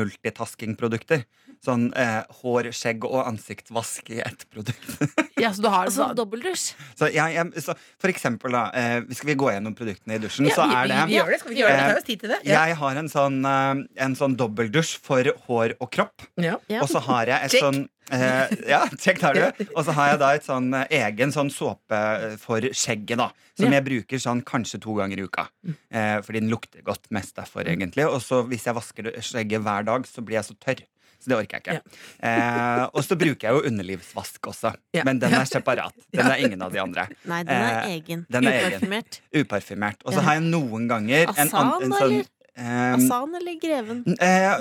Speaker 5: multitasking-produkter. Sånn eh, hår, skjegg og ansiktsvask i ett produkt.
Speaker 3: Ja, så du har
Speaker 4: Altså dobbeltdusj.
Speaker 5: Så, jeg, jeg, så for eksempel, da, eh, skal vi gå gjennom produktene i dusjen,
Speaker 3: Ja,
Speaker 5: så
Speaker 3: vi-
Speaker 5: er det
Speaker 3: vi, vi gjør det, skal vi ikke gjøre det?
Speaker 5: Eh,
Speaker 3: Vi tar oss tid til det. Ja.
Speaker 5: Jeg har en sånn, eh, en sånn dobbeldusj for hår og kropp.
Speaker 3: Ja.
Speaker 4: Ja.
Speaker 5: Og så har jeg et
Speaker 3: Check.
Speaker 5: sånn eh, Ja, check tar du. Og så har jeg da et sånn eh, egen sånn såpe for skjegget, da. Som jeg bruker sånn kanskje to ganger i uka.
Speaker 4: Mm.
Speaker 5: Eh, fordi den lukter godt mest derfor, egentlig. Og så hvis jeg vasker skjegget hver dag, så blir jeg så tørr. Så det orker jeg ikke. Eh, og så bruker jeg jo underlivsvask også.
Speaker 3: Ja.
Speaker 5: Men den er separat. Den er ingen av de andre.
Speaker 4: Nei, den er
Speaker 5: Eh,
Speaker 4: egen.
Speaker 5: den er egen.
Speaker 4: Uparfymert.
Speaker 5: Uparfymert. Og
Speaker 4: Ja.
Speaker 5: så har jeg noen ganger
Speaker 4: Asan, da, eller?
Speaker 5: eh,
Speaker 4: Asan eller Greven?
Speaker 5: Eh,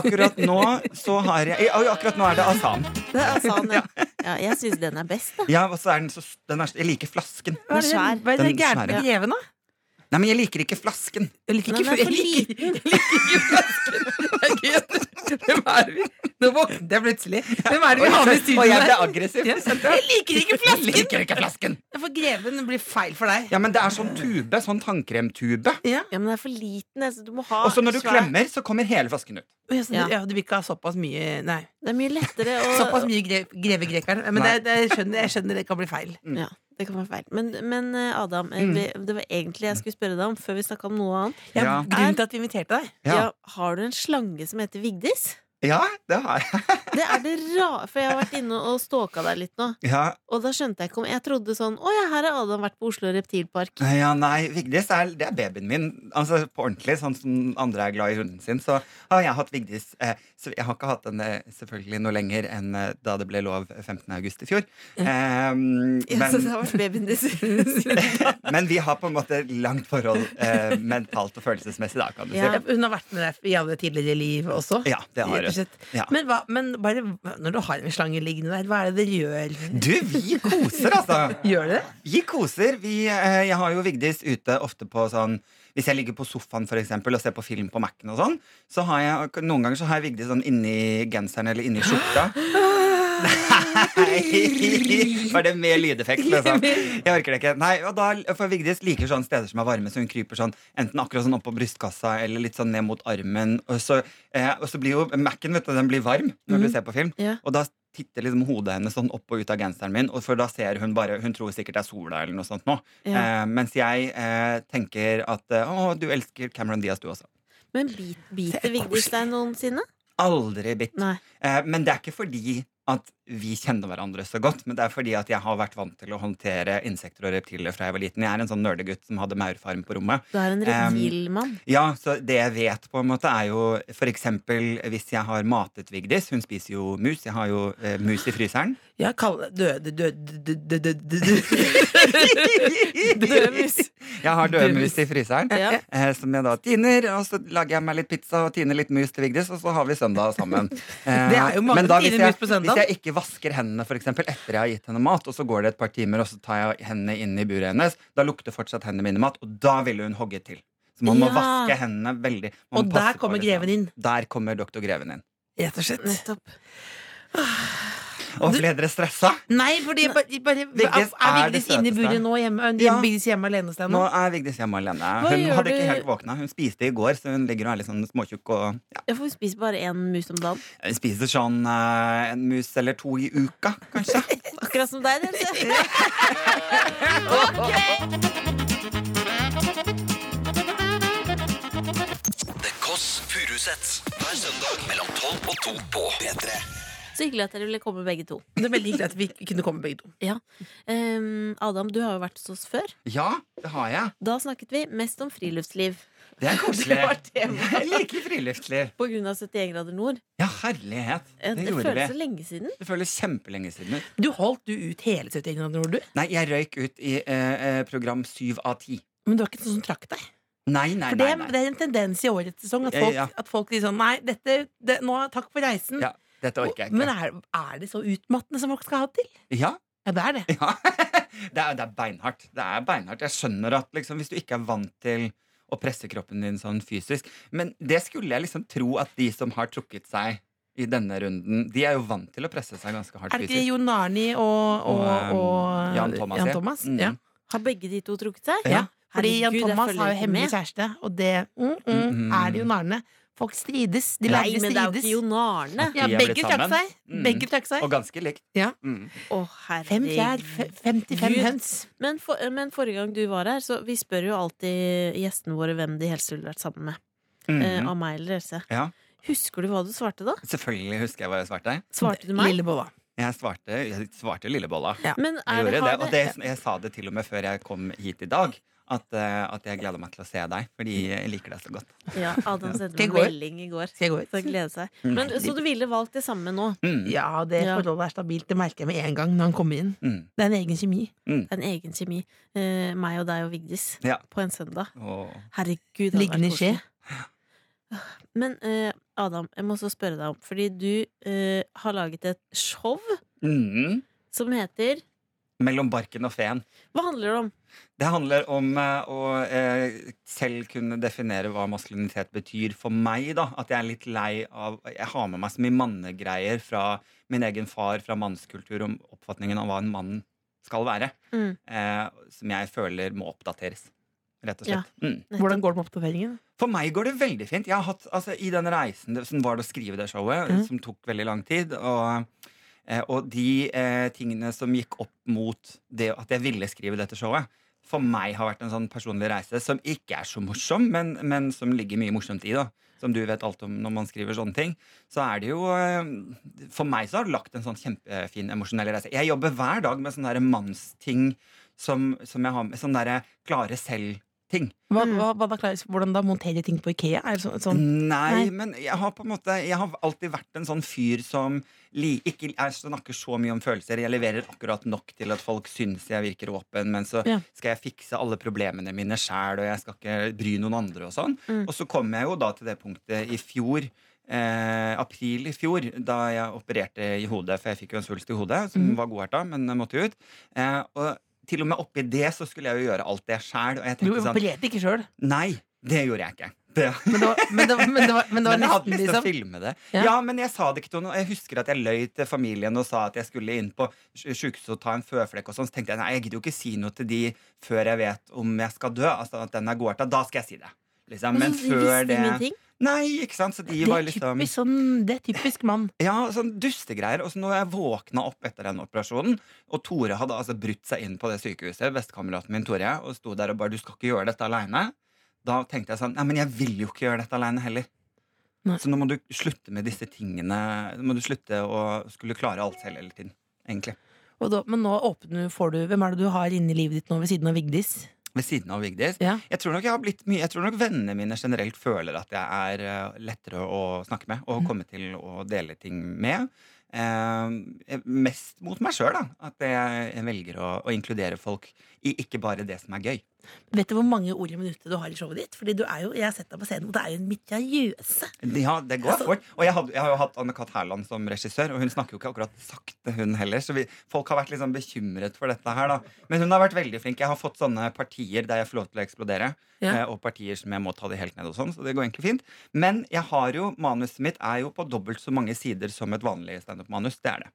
Speaker 5: akkurat nå så har jeg ja, Akkurat nå er det asan.
Speaker 4: Det er Asan, ja. ja jeg syns den er best, da.
Speaker 5: Ja, og så er den så, den er, Jeg liker flasken.
Speaker 3: Hva er det-
Speaker 4: Den er svær.
Speaker 3: Hva er det
Speaker 5: Den
Speaker 3: gærent med
Speaker 5: svære.
Speaker 3: greven, da?
Speaker 5: Nei, men jeg liker ikke flasken.
Speaker 3: Jeg liker
Speaker 4: Den
Speaker 3: ikke
Speaker 4: er for
Speaker 3: jeg liker-
Speaker 4: liten.
Speaker 3: jeg liker ikke flasken. Jeg er gøy. Hvem er det vi Nå våknet jeg plutselig. Hvem er det vi har med i studio
Speaker 5: Og jeg ble
Speaker 3: her?
Speaker 5: aggressiv.
Speaker 3: Ja, Jeg liker ikke
Speaker 5: Jeg
Speaker 3: flasken!
Speaker 5: liker ikke flasken!
Speaker 3: For greven blir feil for deg.
Speaker 5: Ja, men det er sånn tube. Sånn tannkremtube.
Speaker 3: Ja.
Speaker 4: Ja, men den er for liten. Altså, du må ha
Speaker 5: Og så når du
Speaker 4: svær-
Speaker 5: klemmer, så kommer hele flasken ut.
Speaker 3: Ja, så du-
Speaker 4: Ja.
Speaker 3: ja, du vil ikke ha såpass mye Nei.
Speaker 4: Det er mye lettere å
Speaker 3: Såpass mye gre greve grekeren. Men
Speaker 5: Nei.
Speaker 3: det, det, jeg, skjønner, jeg skjønner det kan bli feil.
Speaker 4: ja. Det kan være feil. Men, men eh, Adam, eh,
Speaker 5: Mm.
Speaker 4: vi- det var egentlig jeg skulle spørre deg om før vi snakka om noe annet.
Speaker 3: Ja,
Speaker 5: Ja.
Speaker 3: Grunnen til at vi inviterte deg.
Speaker 5: Ja.
Speaker 4: Ja. har du en slange som heter Vigdis?
Speaker 5: Ja, det har jeg.
Speaker 4: Det er det rare, for jeg har vært inne og stalka deg litt nå.
Speaker 5: Ja,
Speaker 4: Og da skjønte jeg ikke om Jeg trodde sånn Å ja, her har Adam vært på Oslo reptilpark.
Speaker 5: ja nei, Vigdis er, det er babyen min. Altså på ordentlig, sånn som andre er glad i hunden sin. Så har jeg hatt Vigdis. Eh, så jeg har ikke hatt den eh, selvfølgelig noe lenger enn eh, da det ble lov 15. august i fjor. Eh, men,
Speaker 4: har vært babyen din siden.
Speaker 5: men vi har på en måte langt forhold eh, mentalt og følelsesmessig da, kan du
Speaker 4: Ja.
Speaker 5: si.
Speaker 3: Hun har vært med deg i alle tidligere liv også.
Speaker 5: Ja, det har
Speaker 3: Rett og
Speaker 5: hun.
Speaker 3: slett.
Speaker 5: Ja.
Speaker 3: Men, hva, men bare, når du har en slange liggende der, hva er det dere gjør?
Speaker 5: Du, vi koser, altså!
Speaker 3: Gjør dere det?
Speaker 5: Vi koser. Vi, eh, jeg har jo Vigdis ute ofte på sånn Hvis jeg ligger på sofaen for eksempel, og ser på film på Mac-en, og sånn, så har jeg noen ganger så har jeg Vigdis sånn inni genseren eller inni skjorta. Nei! Var det med lydeffekt, liksom? Jeg orker det ikke. Nei, og da, for Vigdis liker sånne steder som er varme, så hun kryper sånn enten akkurat sånn opp på brystkassa eller litt sånn ned mot armen. Og så, eh, og så blir jo Mac-en vet du, den blir varm når du ser på film.
Speaker 4: Ja.
Speaker 5: Og da titter liksom hodet hennes sånn opp og ut av genseren min, og for da ser hun bare Hun tror sikkert det er sola eller noe sånt nå.
Speaker 4: Ja.
Speaker 5: Eh, mens jeg eh, tenker at eh, å, du elsker Cameron Diaz, du også.
Speaker 4: Men bit, biter Vigdis deg noensinne?
Speaker 5: Aldri bitt.
Speaker 4: Nei.
Speaker 5: Eh, men det er ikke fordi at vi kjenner hverandre så godt, men det er fordi at jeg har vært vant til å håndtere insekter og reptiler fra jeg var liten. Jeg er en sånn nerdegutt som hadde maurfarm på rommet. Eh,
Speaker 4: Du er en reptilmann.
Speaker 5: Ja, så det jeg vet på en måte er jo for eksempel hvis jeg har matet Vigdis, hun spiser jo mus, jeg har jo eh, mus i fryseren.
Speaker 3: Ja, kalle døde døde døde døde døde
Speaker 5: Døde
Speaker 4: mus.
Speaker 5: Jeg har døde mus i fryseren.
Speaker 4: Ja.
Speaker 5: Eh, som jeg da tiner, og så lager jeg meg litt pizza og tiner litt mus til Vigdis, og så har vi søndag sammen. Eh,
Speaker 3: Det er jo mange
Speaker 5: men da,
Speaker 3: tiner
Speaker 5: hvis jeg-
Speaker 3: mus på søndag.
Speaker 5: Hvis jeg ikke vasker hendene for eksempel, etter jeg har gitt henne mat, og så går det et par timer, og så tar jeg hendene inn i buret hennes, da lukter fortsatt hendene mine mat, og da ville hun hogge til. Så man må
Speaker 4: Ja.
Speaker 5: vaske hendene veldig. Man
Speaker 3: Og
Speaker 5: må
Speaker 3: der
Speaker 5: passe på,
Speaker 3: kommer
Speaker 5: liksom.
Speaker 3: greven inn.
Speaker 5: Der kommer doktor Greven inn.
Speaker 3: Rett og slett.
Speaker 4: Nettopp.
Speaker 5: Og ble dere stressa?
Speaker 3: Nei, fordi jeg bare, bare
Speaker 5: Vigdis
Speaker 3: Er
Speaker 5: er det
Speaker 3: Vigdis inne i
Speaker 5: søteste.
Speaker 3: buret nå? Hjemme,
Speaker 5: Ja.
Speaker 3: Vigdis hjemme alene hos deg nå?
Speaker 5: Nå er Vigdis hjemme alene. Hun
Speaker 4: gjør
Speaker 5: hadde ikke
Speaker 4: du-
Speaker 5: helt våkna. Hun spiste i går, så hun ligger og er litt sånn småtjukk og ja.
Speaker 4: Jeg får spise bare én mus om dagen.
Speaker 5: Hun spiser sånn eh, en mus eller to i uka, kanskje.
Speaker 4: Akkurat som deg, Nelse.
Speaker 2: The Kåss Furuseths. Hver søndag mellom 12 og 2 på P3.
Speaker 4: Så hyggelig at dere ville komme, begge to.
Speaker 3: Det er veldig hyggelig at vi kunne komme begge to.
Speaker 4: Ehm, Adam, du har jo vært hos oss før.
Speaker 5: Ja, det har jeg.
Speaker 4: Da snakket vi mest om friluftsliv.
Speaker 5: Det er koselig.
Speaker 4: Det var temaet.
Speaker 5: Jeg liker friluftsliv.
Speaker 4: På grunn av 71 grader nord.
Speaker 5: Ja, herlighet.
Speaker 4: Eh,
Speaker 5: Det
Speaker 4: Det
Speaker 5: gjorde
Speaker 4: føles så
Speaker 5: vi.
Speaker 4: lenge siden.
Speaker 5: Det føles kjempelenge siden ut.
Speaker 3: Du holdt du ut hele 71 grader nord, du.
Speaker 5: Nei, jeg røyk ut i eh, eh, program syv av ti.
Speaker 3: Men du var ikke sånn som trakk deg.
Speaker 5: Nei, nei,
Speaker 3: For det,
Speaker 5: nei. nei.
Speaker 3: det er en tendens i årets sesong at
Speaker 5: Ja,
Speaker 3: folk,
Speaker 5: ja.
Speaker 3: at folk sier sånn Nei, dette, det, nå, takk for reisen.
Speaker 5: Ja, dette orker jeg
Speaker 3: Men
Speaker 5: ikke.
Speaker 3: er, er det så utmattende som folk skal ha det til?
Speaker 5: Ja,
Speaker 3: Ja, det er det.
Speaker 5: ja. Det er, det er beinhardt. Det er beinhardt. Jeg skjønner at liksom, hvis du ikke er vant til å presse kroppen din sånn fysisk Men det skulle jeg liksom tro at de som har trukket seg i denne runden, de er jo vant til å presse seg ganske hardt
Speaker 3: Er det ikke
Speaker 5: fysisk.
Speaker 3: Jon Arni og, og,
Speaker 5: Og, um,
Speaker 3: og,
Speaker 5: Jan Thomas, ja. Mm.
Speaker 3: Ja.
Speaker 4: Har begge de to trukket seg?
Speaker 5: Ja.
Speaker 3: Fordi Jan
Speaker 4: Herregud, jeg
Speaker 3: Thomas
Speaker 4: følger
Speaker 3: har jo
Speaker 4: ikke
Speaker 3: hemmelig
Speaker 4: med.
Speaker 3: kjæreste, og det mm, mm,
Speaker 5: Mm, mm.
Speaker 3: er det Jon Arne. Folk strides. De
Speaker 4: Nei,
Speaker 3: lærde
Speaker 4: men det er jo
Speaker 3: strides.
Speaker 4: ikke Jon Arne.
Speaker 3: Ja,
Speaker 5: De er blitt
Speaker 3: begge trakk
Speaker 5: sammen.
Speaker 3: seg.
Speaker 5: Mm.
Speaker 3: Begge trakk seg.
Speaker 5: Og ganske likt.
Speaker 3: Ja.
Speaker 5: Mm.
Speaker 4: Å,
Speaker 3: Fem fjær,
Speaker 4: herregud.
Speaker 3: fe- 55
Speaker 4: Gud.
Speaker 3: høns.
Speaker 4: Men, for, eh, men forrige gang du var her, så vi spør jo alltid gjestene våre hvem de helst ville vært sammen med. Eh,
Speaker 3: Mm.
Speaker 5: Mhm.
Speaker 4: av meg eller Else.
Speaker 5: Ja.
Speaker 4: Husker du hva du svarte da?
Speaker 5: Selvfølgelig husker jeg hva jeg svarte.
Speaker 4: Svarte du meg?
Speaker 3: Lillebolla.
Speaker 5: Jeg svarte, jeg svarte Lillebolla.
Speaker 3: Ja.
Speaker 4: Men
Speaker 5: Jeg
Speaker 4: er det,
Speaker 5: gjorde det,
Speaker 4: har
Speaker 5: og
Speaker 4: det,
Speaker 5: det, jeg sa det til og med før jeg kom hit i dag. At, eh, at jeg gleder meg til å se deg, fordi jeg liker deg så godt.
Speaker 4: ja, Adam sendte
Speaker 3: Til
Speaker 4: meg
Speaker 3: går.
Speaker 4: melding i går.
Speaker 3: Skal jeg gå ut?
Speaker 4: Så han gleder seg. Men, så du ville valgt det samme nå?
Speaker 5: Mm,
Speaker 3: Ja, det
Speaker 4: Ja.
Speaker 3: forholdet er stabilt. Det merker jeg med en gang når han kommer inn.
Speaker 5: mm.
Speaker 3: Det er en egen kjemi.
Speaker 4: Det er en egen kjemi. Eh, meg og deg og Vigdis
Speaker 5: Ja.
Speaker 4: på en søndag.
Speaker 5: Og,
Speaker 4: Herregud, det hadde
Speaker 3: Liggende i
Speaker 4: vært
Speaker 3: skje.
Speaker 4: koselig. Men eh, Adam, jeg må også spørre deg om Fordi du eh, har laget et show
Speaker 5: mm,
Speaker 4: som heter
Speaker 5: mellom barken og feen.
Speaker 4: Hva handler det om?
Speaker 5: Det handler om eh, å eh, selv kunne definere hva maskulinitet betyr for meg. da At jeg er litt lei av Jeg har med meg så mye mannegreier fra min egen far, fra mannskultur, om oppfatningen av hva en mann skal være.
Speaker 4: Mm.
Speaker 5: Eh, som jeg føler må oppdateres. Rett og
Speaker 4: Ja.
Speaker 5: slett. Mm.
Speaker 3: Hvordan går det med oppdateringen?
Speaker 5: For meg går det veldig fint. Jeg har hatt, altså, I den reisen det, som var det å skrive det showet,
Speaker 3: Mhm.
Speaker 5: som tok veldig lang tid, og Eh, og de eh, tingene som gikk opp mot det at jeg ville skrive dette showet, for meg har vært en sånn personlig reise som ikke er så morsom, men, men som ligger mye morsomt i. da Som du vet alt om når man skriver sånne ting. Så er det jo eh, For meg så har det lagt en sånn kjempefin emosjonell reise. Jeg jobber hver dag med sånne der mannsting som, som jeg har med. Sånne der klare selv-ting.
Speaker 3: Hva,
Speaker 4: Mm.
Speaker 3: hva, hva da klarer, hvordan da montere ting på Ikea? Er det så,
Speaker 5: Mm,
Speaker 3: sånn?
Speaker 5: Nei,
Speaker 3: Nei.
Speaker 5: men jeg har på en måte Jeg har alltid vært en sånn fyr som li, ikke jeg snakker så mye om følelser. Jeg leverer akkurat nok til at folk syns jeg virker åpen, men så
Speaker 3: Ja.
Speaker 5: skal jeg fikse alle problemene mine sjæl, og jeg skal ikke bry noen andre og sånn.
Speaker 3: Mm.
Speaker 5: Og så kom jeg jo da til det punktet i fjor. Eh, april i fjor, da jeg opererte i hodet, for jeg fikk jo en svulst i hodet, som
Speaker 3: Mhm.
Speaker 5: var godhjerta, men jeg måtte jo ut. Eh, og til og med oppi det så skulle jeg jo gjøre alt det sjæl, og jeg
Speaker 3: Du
Speaker 5: tenkte sånn
Speaker 3: opererte ikke sjøl,
Speaker 5: Nei, det gjorde jeg ikke. Det
Speaker 3: men, det var- men, det var- men, det var- men det var
Speaker 5: men jeg hadde
Speaker 3: nesten
Speaker 5: lyst til å
Speaker 3: liksom
Speaker 5: filme det.
Speaker 3: Ja.
Speaker 5: Ja. men jeg sa det ikke til noen. og Jeg husker at jeg løy til familien og sa at jeg skulle inn på sj- sjukehuset og ta en føflekk og sånn. Så tenkte jeg nei, jeg gidder jo ikke si noe til de før jeg vet om jeg skal dø. Altså at den er gårta. Da skal jeg si det. Liksom. Men før det Nei, ikke sant. Så de
Speaker 3: det
Speaker 5: var
Speaker 3: er,
Speaker 5: liksom
Speaker 3: typisk, sånn, det er typisk mann.
Speaker 5: ja, sånn dustegreier. Og så når jeg våkna opp etter den operasjonen, og Tore hadde altså brutt seg inn på det sykehuset, bestekameraten min Tore, og sto der og bare 'du skal ikke gjøre dette aleine', da tenkte jeg sånn 'nei, men jeg vil jo ikke gjøre dette aleine heller'.
Speaker 3: Nei.
Speaker 5: Så nå må du slutte med disse tingene. Nå må du slutte å skulle klare alt selv hele tiden. Egentlig.
Speaker 3: Og da, men nå åpner, får du Hvem er det du har inni livet ditt nå ved siden av Vigdis?
Speaker 5: Ved siden av Vigdis.
Speaker 3: Ja.
Speaker 5: Jeg tror nok jeg har blitt mye Jeg tror nok vennene mine generelt føler at jeg er eh, lettere å snakke med og komme til å dele ting med. Eh, mest mot meg sjøl, da. At jeg velger å, å inkludere folk i ikke bare det som er gøy.
Speaker 3: Vet du hvor mange ord i minuttet du har i showet ditt? Fordi du er jo, Jeg har sett deg på scenen, og det er jo en mitraljøse.
Speaker 5: Ja, det går fort. Og jeg, hadde, jeg har jo hatt Anne-Kat. Hærland som regissør, og hun snakker jo ikke akkurat sakte, hun heller. Så vi, folk har vært litt sånn bekymret for dette her, da. Men hun har vært veldig flink. Jeg har fått sånne partier der jeg får lov til å eksplodere,
Speaker 3: Ja.
Speaker 5: eh, og partier som jeg må ta det helt ned og sånn, så det går egentlig fint. Men jeg har jo, manuset mitt er jo på dobbelt så mange sider som et vanlig standup-manus. Det er det.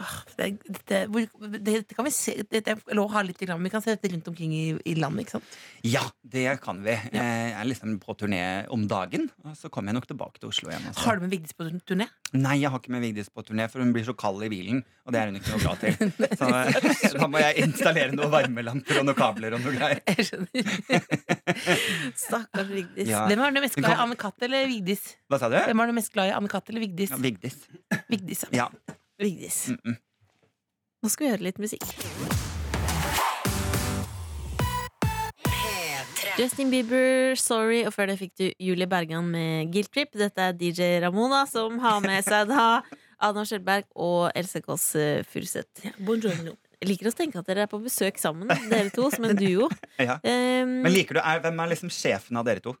Speaker 3: Åh, Det, er- dette- hvor- det, det kan vi se det, det er lov å ha litt reklame. Vi kan se dette rundt omkring i, i landet. ikke sant?
Speaker 5: Ja, det kan vi. Eh, Jeg er liksom på turné om dagen, og så kommer jeg nok tilbake til Oslo igjen. altså.
Speaker 3: Har du med Vigdis på turné?
Speaker 5: Nei, jeg har ikke med Vigdis på turné, for hun blir så kald i bilen. Og det er hun ikke noe glad til. Så eh, da må jeg installere noen varmelamper og noen kabler og noe greier.
Speaker 3: Jeg skjønner.
Speaker 4: Stakkars Vigdis.
Speaker 5: Ja.
Speaker 3: Hvem er du mest
Speaker 5: Men
Speaker 3: glad i?
Speaker 5: kan-
Speaker 3: Anne-Kat. eller Vigdis?
Speaker 5: Hva sa du?
Speaker 3: Hvem er du mest glad i? Anne-Kat. eller Vigdis?
Speaker 5: Ja, Vigdis.
Speaker 3: Vigdis, ja.
Speaker 5: Ja.
Speaker 4: Vigdis.
Speaker 5: Mm -mm.
Speaker 4: Nå skal vi høre litt musikk. Justin Bieber, Sorry, og før det fikk du Julie Bergan med Guilt Trip. Dette er DJ Ramona som har med seg da Adam Skjelberg og Else Kåss eh, Furuseth.
Speaker 3: Buongiorno.
Speaker 4: Jeg liker å tenke at dere er på besøk sammen, dere to, som en duo.
Speaker 5: ja.
Speaker 4: Ehm,
Speaker 5: Men liker du, er, Hvem er liksom sjefen av dere to?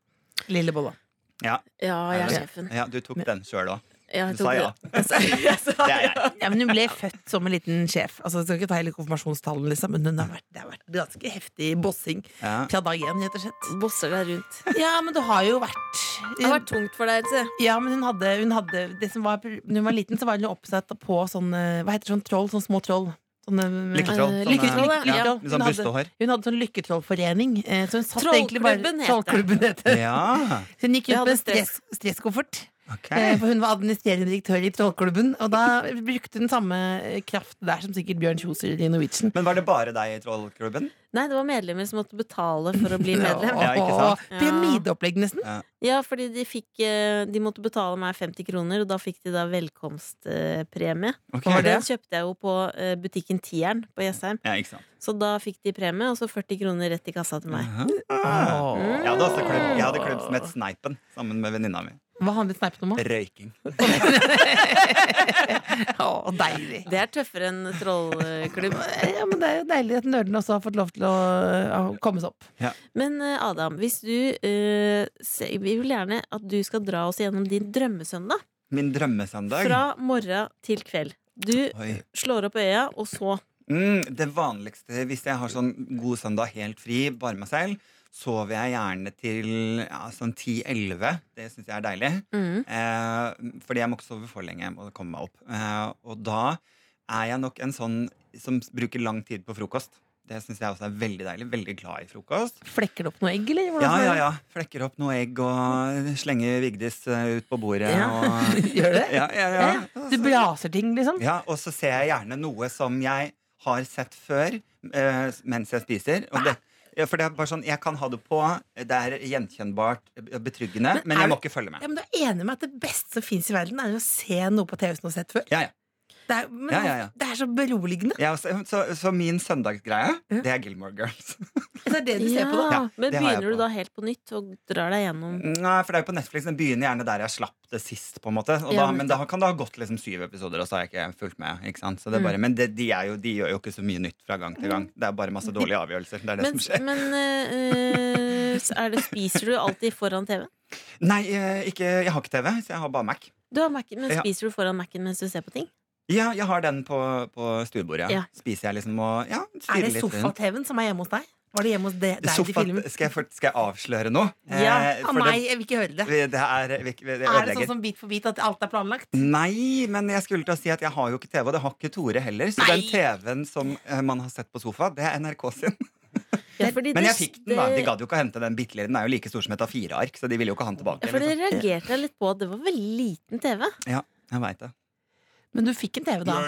Speaker 3: Lille bolla.
Speaker 4: ja, jeg er
Speaker 5: Ja.
Speaker 4: sjefen.
Speaker 5: Ja, Du tok den sjøl òg.
Speaker 4: Ja, jeg
Speaker 5: Du
Speaker 4: tok
Speaker 5: sa ja.
Speaker 4: det. Jeg sa- Altså, jeg sa
Speaker 5: Det er jeg.
Speaker 4: ja.
Speaker 3: Ja, men hun ble født som en liten sjef. Altså, jeg skal ikke ta hele konfirmasjonstallene, liksom, men hun har vært, det har vært ganske heftig bossing
Speaker 5: Ja.
Speaker 3: fra dag én, rett og slett.
Speaker 4: Bosser deg rundt.
Speaker 3: Ja, men det har jo vært
Speaker 4: Det har vært tungt for deg, Else.
Speaker 3: Ja, men hun hadde, hun hadde det som var, Når hun var liten, så var hun jo oppsatt på sånne Hva heter sånn troll? Sånne små troll. Sånne,
Speaker 5: Lykketroll.
Speaker 4: Eh,
Speaker 5: Sånne-
Speaker 4: lykketroll, ja.
Speaker 5: ja.
Speaker 3: Lykketroll. Hun
Speaker 5: Med sånn
Speaker 3: hadde-
Speaker 5: bustehår.
Speaker 3: Hun hadde sånn lykketrollforening. eh, Så hun satt egentlig bare
Speaker 4: Trollklubben heter det.
Speaker 3: Trollklubben heter det.
Speaker 5: Ja,
Speaker 3: Hun gikk
Speaker 4: Jeg
Speaker 3: ut
Speaker 4: hadde
Speaker 3: med en
Speaker 4: stress.
Speaker 3: stress, stresskoffert.
Speaker 5: ok
Speaker 3: Eh, For hun var administrerende direktør i Trollklubben, og da brukte hun samme kraft der som sikkert Bjørn Kjoser i Norwegian.
Speaker 5: Men var det bare deg i trollklubben?
Speaker 4: Nei, det var medlemmer som måtte betale for å bli medlem.
Speaker 5: Ja, ikke sant?
Speaker 3: Åh, Pyramideopplegg, nesten.
Speaker 4: Ja, fordi de, fikk, eh, de måtte betale meg 50 kroner, og da fikk de da velkomstpremie.
Speaker 5: Ok.
Speaker 3: Hva var det?
Speaker 4: Den kjøpte jeg jo på eh, butikken Tieren på Jessheim.
Speaker 5: Ja, ikke sant
Speaker 4: Så da fikk de premie, og så 40 kroner rett i kassa til meg.
Speaker 5: Ah.
Speaker 3: Åh.
Speaker 5: Jeg hadde også klubb, jeg hadde klubb som het Sneipen, sammen med venninna mi.
Speaker 3: Hva handlet sneipen om? da?
Speaker 5: Røyking.
Speaker 3: Åh, deilig.
Speaker 4: Det er tøffere enn trollklubb.
Speaker 3: Ja, men Det er jo deilig at nerdene også har fått lov til å å komme seg opp.
Speaker 4: Men eh, Adam, hvis du eh, se, Vi vil gjerne at du skal dra oss gjennom din drømmesøndag.
Speaker 5: Min drømmesøndag.
Speaker 4: Fra morgen til kveld. Du
Speaker 5: Oi.
Speaker 4: slår opp øya, og så
Speaker 5: Mm, det vanligste hvis jeg har sånn god søndag helt fri, bare meg selv, sover jeg gjerne til ja, sånn 10-11. Det syns jeg er deilig.
Speaker 4: mm.
Speaker 5: Eh, fordi jeg må ikke sove for lenge. Jeg må komme meg opp. Eh, og da er jeg nok en sånn som bruker lang tid på frokost. Det syns jeg også er veldig deilig. Veldig glad i frokost.
Speaker 3: Flekker det opp noe egg, eller?
Speaker 5: Ja, ja, ja. Flekker opp noe egg og slenger Vigdis eh, ut på bordet.
Speaker 3: Ja.
Speaker 5: Og,
Speaker 3: Gjør det?
Speaker 5: ja, ja, ja.
Speaker 3: Du braser ting, liksom?
Speaker 5: ja, og så ser jeg gjerne noe som jeg har sett før eh, mens jeg spiser. Og det, ja, for det er bare sånn, Jeg kan ha det på, det er gjenkjennbart, eh, betryggende,
Speaker 3: Men
Speaker 5: men,
Speaker 3: er
Speaker 5: jeg må
Speaker 3: det-
Speaker 5: ikke følge med.
Speaker 3: Ja, men Du er enig med at det beste som fins i verden, er å se noe på TV som du har sett før?
Speaker 5: Ja, ja.
Speaker 3: Det er, men,
Speaker 5: Ja, ja, ja.
Speaker 3: Det er så beroligende.
Speaker 5: Ja, så, så, så min søndagsgreie,
Speaker 3: Ja.
Speaker 5: det er Gilmore Girls.
Speaker 3: Det er det du ser på da.
Speaker 5: Ja,
Speaker 4: Men
Speaker 5: det har jeg
Speaker 4: begynner du
Speaker 5: på.
Speaker 4: da helt på nytt og drar deg gjennom
Speaker 5: Nei, for det er jo på Netflix. Den begynner gjerne der jeg slapp det sist. på en måte og da,
Speaker 4: Ja,
Speaker 5: Men da kan det ha gått liksom syv episoder, og så har jeg ikke fulgt med. ikke sant? Så det er
Speaker 3: Mm.
Speaker 5: bare, Men det, de, er jo, de gjør jo ikke så mye nytt fra gang til gang. Det er bare masse dårlige avgjørelser. Det er det
Speaker 4: Men,
Speaker 5: som skjer.
Speaker 4: men eh, eh, så er det, spiser du alltid foran TV-en?
Speaker 5: Nei, eh, ikke, jeg har ikke TV, så jeg har bare Mac.
Speaker 4: Du har Mac men
Speaker 5: Ja.
Speaker 4: spiser du foran Mac-en mens du ser på ting?
Speaker 5: Ja, jeg har den på, på stuebordet. Ja.
Speaker 4: Ja.
Speaker 5: Spiser jeg liksom og ja,
Speaker 3: Er
Speaker 5: styrer
Speaker 3: det
Speaker 5: litt rundt.
Speaker 3: sofa-TV-en som er hjemme hos deg? Var det hjemme hos de, deg de
Speaker 5: Sofa,
Speaker 3: filmen?
Speaker 5: skal, jeg, fort- skal jeg avsløre noe?
Speaker 4: Ja,
Speaker 5: Eh,
Speaker 3: Av
Speaker 5: for
Speaker 3: meg, jeg vil ikke høre det.
Speaker 5: Det, det er, vi- vi- det
Speaker 3: Er det
Speaker 5: ødelegger.
Speaker 3: sånn som bit for bit at alt er planlagt?
Speaker 5: Nei, men jeg skulle til å si at jeg har jo ikke TV, og det har ikke Tore heller. Så
Speaker 3: Nei.
Speaker 5: den TV-en som eh, man har sett på sofa, det er NRK sin.
Speaker 4: Ja, fordi
Speaker 5: Men
Speaker 4: det-
Speaker 5: jeg fikk den, da. De
Speaker 4: det-
Speaker 5: gadd jo ikke å hente den bitte lille. Den er jo like stor som et A4-ark, så de ville jo ikke ha den
Speaker 4: Ja,
Speaker 5: tilbake.
Speaker 4: for det
Speaker 5: Liksom.
Speaker 4: reagerte jeg litt på. Det var veldig liten TV.
Speaker 5: Jeg vet det.
Speaker 3: Men du fikk en TV, da.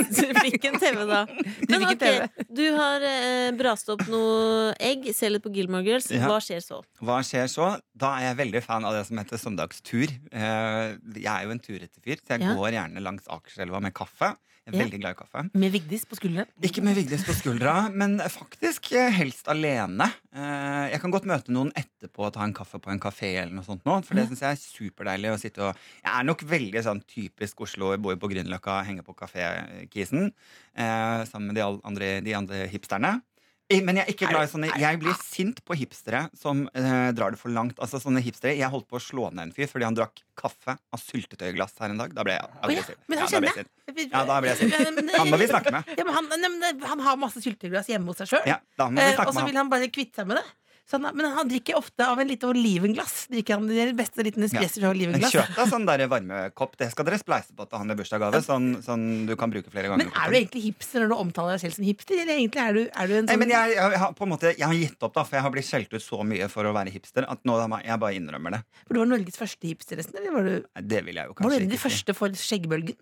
Speaker 4: Du fikk en TV da. Men
Speaker 3: fikk en
Speaker 4: ok, du har eh, brast opp noe egg, ser litt på Gilmore Girls.
Speaker 5: Ja.
Speaker 4: Hva skjer så?
Speaker 5: Hva skjer så? Da er jeg veldig fan av det som heter søndagstur. Eh, Jeg er jo en turete fyr, så jeg
Speaker 4: Ja.
Speaker 5: går gjerne langs Akerselva med kaffe. Jeg er
Speaker 3: Ja.
Speaker 5: veldig glad i kaffe.
Speaker 3: Med Vigdis på skulderen.
Speaker 5: Ikke med Vigdis på skuldra, men faktisk eh, helst alene. Eh, Jeg kan godt møte noen etterpå og ta en kaffe på en kafé, eller noe sånt nå, for det syns jeg er superdeilig å sitte og Jeg er nok veldig sånn typisk Oslo, jeg bor jo på Grünerløkka, henger på kafé-kisen eh, sammen med de al- andre, de andre hipsterne. I- Men jeg er ikke glad i sånne Jeg blir
Speaker 3: ah.
Speaker 5: sint på hipstere som eh, drar det for langt. Altså sånne hipstere Jeg holdt på å slå ned en fyr fordi han drakk kaffe av syltetøyglass her en dag. Da ble jeg
Speaker 3: ja,
Speaker 5: aggressiv.
Speaker 3: men han
Speaker 5: da
Speaker 3: kjenner
Speaker 5: ble jeg sint. Ja, da ble jeg sint.
Speaker 3: Ja, men-
Speaker 5: Han må vi snakke med.
Speaker 3: Ja, men han, nei, men det- han har masse sylteglass hjemme hos seg sjøl,
Speaker 5: Ja, da må vi
Speaker 3: eh, og
Speaker 5: snakke
Speaker 3: så
Speaker 5: med
Speaker 3: vil han bare kvitte seg med det. Så han, men han drikker ofte av en lite olivenglass. Drikker han den beste liten espresso fra
Speaker 5: Men
Speaker 3: olivenglass.
Speaker 5: kjøp deg sånn der varmekopp. Det skal dere spleise på til han i bursdagsgave. Sånn, sånn du kan bruke flere
Speaker 3: Men
Speaker 5: ganger.
Speaker 3: er du egentlig hipster når du omtaler deg selv som hipster? Eller egentlig er du, er du en
Speaker 5: Nei,
Speaker 3: sånn
Speaker 5: men jeg, jeg, har på en måte, jeg har gitt opp, da, for jeg har blitt skjelt ut så mye for å være hipster at nå har jeg- jeg bare innrømmer det.
Speaker 3: For du var Norges første hipster, nesten? Eller var du,
Speaker 5: Nei, Det vil jeg jo
Speaker 3: var du en
Speaker 5: kanskje
Speaker 3: av de
Speaker 5: ikke si.
Speaker 3: første for skjeggbølgen?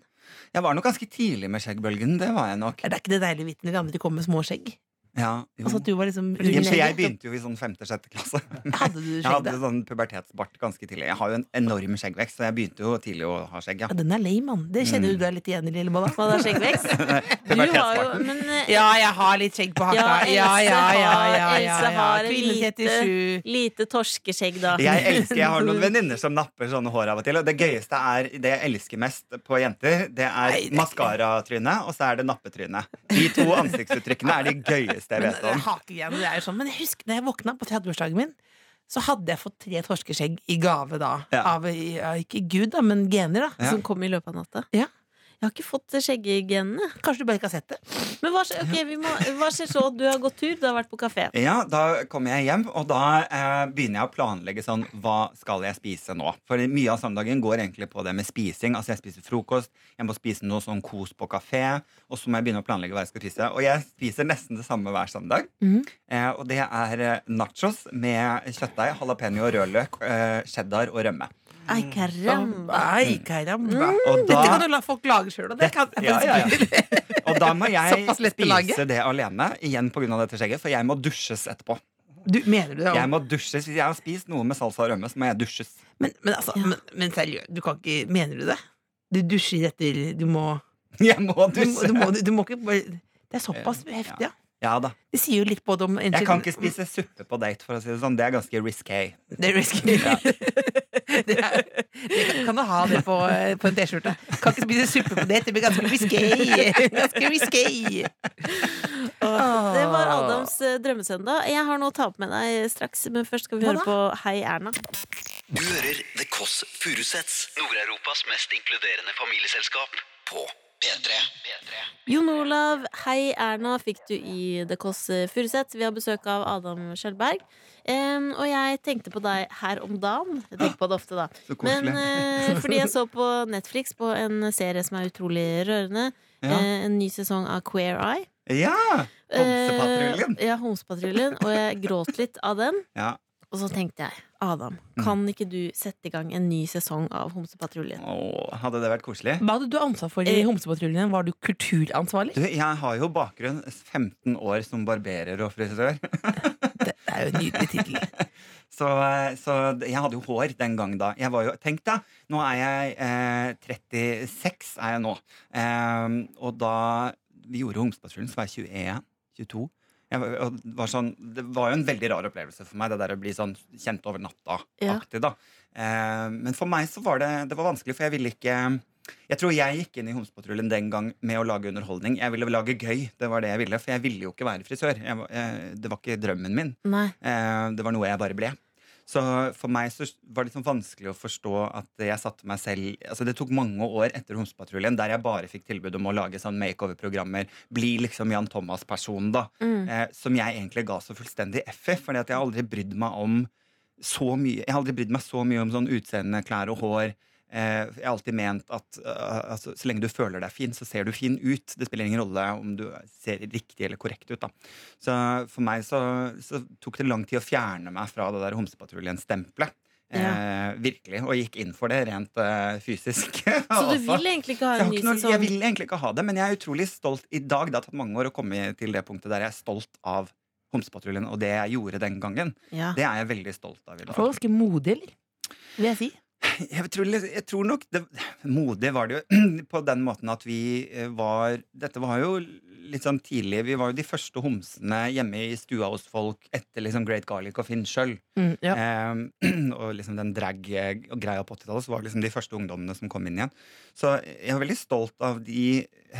Speaker 5: Jeg var nok ganske tidlig med skjeggbølgen. Det var jeg nok.
Speaker 3: Er det ikke det deilige vitnet de andre kom med små skjegg?
Speaker 5: Ja, jo.
Speaker 3: Altså at du var liksom
Speaker 5: Ja, for jeg
Speaker 3: rullegget?
Speaker 5: begynte jo i sånn femte-sjette klasse.
Speaker 3: Hadde du
Speaker 5: Jeg
Speaker 3: skjegg
Speaker 5: hadde
Speaker 3: da?
Speaker 5: sånn pubertetsbart ganske tidlig. Jeg har jo en enorm skjeggvekst, så jeg begynte jo tidlig å ha skjegg. Ja.
Speaker 3: Ja, den er lei, mann. Det kjenner du deg litt igjen i, Lillebolla.
Speaker 4: Hva da, skjeggvekst? Du har jo
Speaker 5: Pubertetsbarten.
Speaker 4: Men eh,
Speaker 3: Ja, jeg har litt skjegg på
Speaker 4: Ja,
Speaker 3: haka.
Speaker 4: Else
Speaker 3: Ja, ja, ja, ja,
Speaker 4: har-
Speaker 3: ja,
Speaker 4: Else
Speaker 3: ja.
Speaker 4: har en
Speaker 3: Kvinne
Speaker 4: lite-
Speaker 3: 37.
Speaker 4: lite torskeskjegg, da.
Speaker 5: Jeg elsker, jeg har noen venninner som napper sånne hår av og til. Og det gøyeste er det jeg elsker mest på jenter, det er
Speaker 3: det er ikke-
Speaker 5: maskaratryne, og så er det nappetryne. De to ansiktsuttrykkene er de gøyeste jeg
Speaker 3: Men
Speaker 5: vet om.
Speaker 3: hakegreiene, det er jo sånn. Men jeg husker da jeg våkna på 30-årsdagen min, så hadde jeg fått tre torskeskjegg i gave da.
Speaker 5: Ja.
Speaker 3: Av ja, ikke Gud, da, men gener, da.
Speaker 5: Ja.
Speaker 4: Som kom i løpet av natta.
Speaker 3: Ja.
Speaker 4: Jeg har ikke fått eh, skjeggegenene.
Speaker 3: Kanskje du bare ikke har sett det?
Speaker 4: Men hva skjer, ok, vi må, hva skjer så? Du har gått tur, du har vært på kafé.
Speaker 5: Ja, Da kommer jeg hjem, og da eh, begynner jeg å planlegge sånn Hva skal jeg spise nå? For mye av søndagen går egentlig på det med spising. Altså Jeg spiser frokost, jeg må spise noe sånn kos på kafé, og så må jeg begynne å planlegge hva jeg skal spise. Og jeg spiser nesten det samme hver søndag.
Speaker 3: Mm.
Speaker 5: Eh, og det er eh, nachos med kjøttdeig, jalapeño og rødløk, eh, cheddar og rømme.
Speaker 4: Ai, caramba.
Speaker 3: Nei, karamba.
Speaker 5: Og
Speaker 3: Dette kan
Speaker 5: da,
Speaker 3: du la folk lage sjøl, og det kan
Speaker 5: ja, ja, ja. og da må jeg
Speaker 3: Såpass lett å lage.
Speaker 5: spise det alene, igjen pga. dette skjegget, for jeg må dusjes etterpå.
Speaker 3: Du, Mener du det?
Speaker 5: Jeg må dusjes Hvis jeg har spist noe med salsa og rømme, så må jeg dusjes.
Speaker 3: Men, men, altså, men, men seriøst, du kan ikke Mener du det? Du dusjer etter Du må
Speaker 5: Jeg må
Speaker 3: Du, må-
Speaker 5: dusje!
Speaker 3: du, må, du må ikke bare Det er såpass heftig, ja.
Speaker 5: Eh, Ja da.
Speaker 3: Det sier jo litt både om
Speaker 5: Jeg kan ikke spise suppe på date, for å si det sånn. Det er ganske risky.
Speaker 3: Mm, Det er risky. det er, det kan, kan du ha det på, på en T-skjorte? Kan ikke spise suppe på det. Det blir ganske risky. Ganske risky.
Speaker 4: Det var
Speaker 5: Ah.
Speaker 4: Adams eh, drømmesøndag. Jeg har noe å ta opp med deg straks, men først skal vi
Speaker 3: Hva
Speaker 4: høre på Hei Erna.
Speaker 2: Du hører The Kåss Furuseths, Nord-Europas mest inkluderende familieselskap, på P3.
Speaker 4: Jon Olav, hei Erna, fikk du i The Kåss Furuseth. Vi har besøk av Adam Skjølberg. Em, og jeg tenkte på deg her om dagen. Jeg tenker på det ofte, da.
Speaker 5: Så koselig.
Speaker 4: Men eh, fordi jeg så på Netflix på en serie som er utrolig rørende.
Speaker 5: Ja.
Speaker 4: Eh, en ny sesong av Queer Eye.
Speaker 5: Ja! Homsepatruljen.
Speaker 4: Eh, ja, Homsepatruljen. Og jeg gråt litt av den.
Speaker 5: Ja.
Speaker 4: Og så tenkte jeg, Adam,
Speaker 5: Mm.
Speaker 4: kan ikke du sette i gang en ny sesong av Homsepatruljen?
Speaker 5: Åh, hadde det vært koselig?
Speaker 3: Hva hadde du ansvar for i
Speaker 4: Eh.
Speaker 3: Homsepatruljen? Var du kulturansvarlig?
Speaker 5: Du, jeg har jo bakgrunn 15 år som barberer og frisør.
Speaker 3: Det er jo en nydelig tittel.
Speaker 5: Så, eh, så jeg hadde jo hår den gang da. Jeg var jo, tenk da, nå er jeg eh, 36 er jeg nå. Eh, og da vi gjorde Homsepatruljen, så var jeg 21, 22. Jeg var, og var sånn, det var jo en veldig rar opplevelse for meg, det der å bli sånn kjent over natta-aktig. da. Eh, men for meg så var det, det var vanskelig, for jeg ville ikke jeg tror jeg gikk inn i Homsepatruljen den gang med å lage underholdning. Jeg ville lage gøy, det var det jeg ville, for jeg ville jo ikke være frisør. Jeg, var- eh, det var ikke drømmen min.
Speaker 4: Nei.
Speaker 5: Eh, Det var noe jeg bare ble. Så for meg så var det litt sånn vanskelig å forstå at jeg satte meg selv Altså Det tok mange år etter Homsepatruljen der jeg bare fikk tilbud om å lage sånn makeover-programmer. Bli liksom Jan Thomas-personen, da.
Speaker 4: Mm.
Speaker 5: Eh, som jeg egentlig ga så fullstendig F i, fordi at jeg har aldri brydd meg om så mye Jeg har aldri brydd meg så mye om sånn utseende, klær og hår. Eh, jeg har alltid ment at eh, altså, så lenge du føler deg fin, så ser du fin ut. Det spiller ingen rolle om du ser riktig eller korrekt ut. Da. Så for meg så, så tok det lang tid å fjerne meg fra det der Homsepatruljen-stempelet. Eh, virkelig. Og gikk inn for det rent eh, fysisk.
Speaker 4: Så du
Speaker 5: også.
Speaker 4: vil egentlig ikke ha
Speaker 5: Så
Speaker 4: en
Speaker 5: altså, jeg, har
Speaker 4: ny
Speaker 5: ikke noe, jeg
Speaker 4: sesong?
Speaker 5: vil egentlig ikke ha det, men jeg er utrolig stolt i dag. Det har tatt mange år å komme til det punktet der jeg er stolt av Homsepatruljen og det jeg gjorde den gangen.
Speaker 4: Ja.
Speaker 5: Det er jeg veldig stolt av i
Speaker 3: Du var
Speaker 5: dag.
Speaker 3: ganske modig, eller? Vil jeg si.
Speaker 5: Jeg tror, jeg tror nok det, Modig var det jo på den måten at vi eh, var Dette var jo litt sånn tidlig. Vi var jo de første homsene hjemme i stua hos folk etter liksom Great Garlic og Finn sjøl.
Speaker 3: Mm, ja.
Speaker 5: Ehm, og liksom den drag-greia på 80-tallet Så var liksom de første ungdommene som kom inn igjen. Så jeg er veldig stolt av de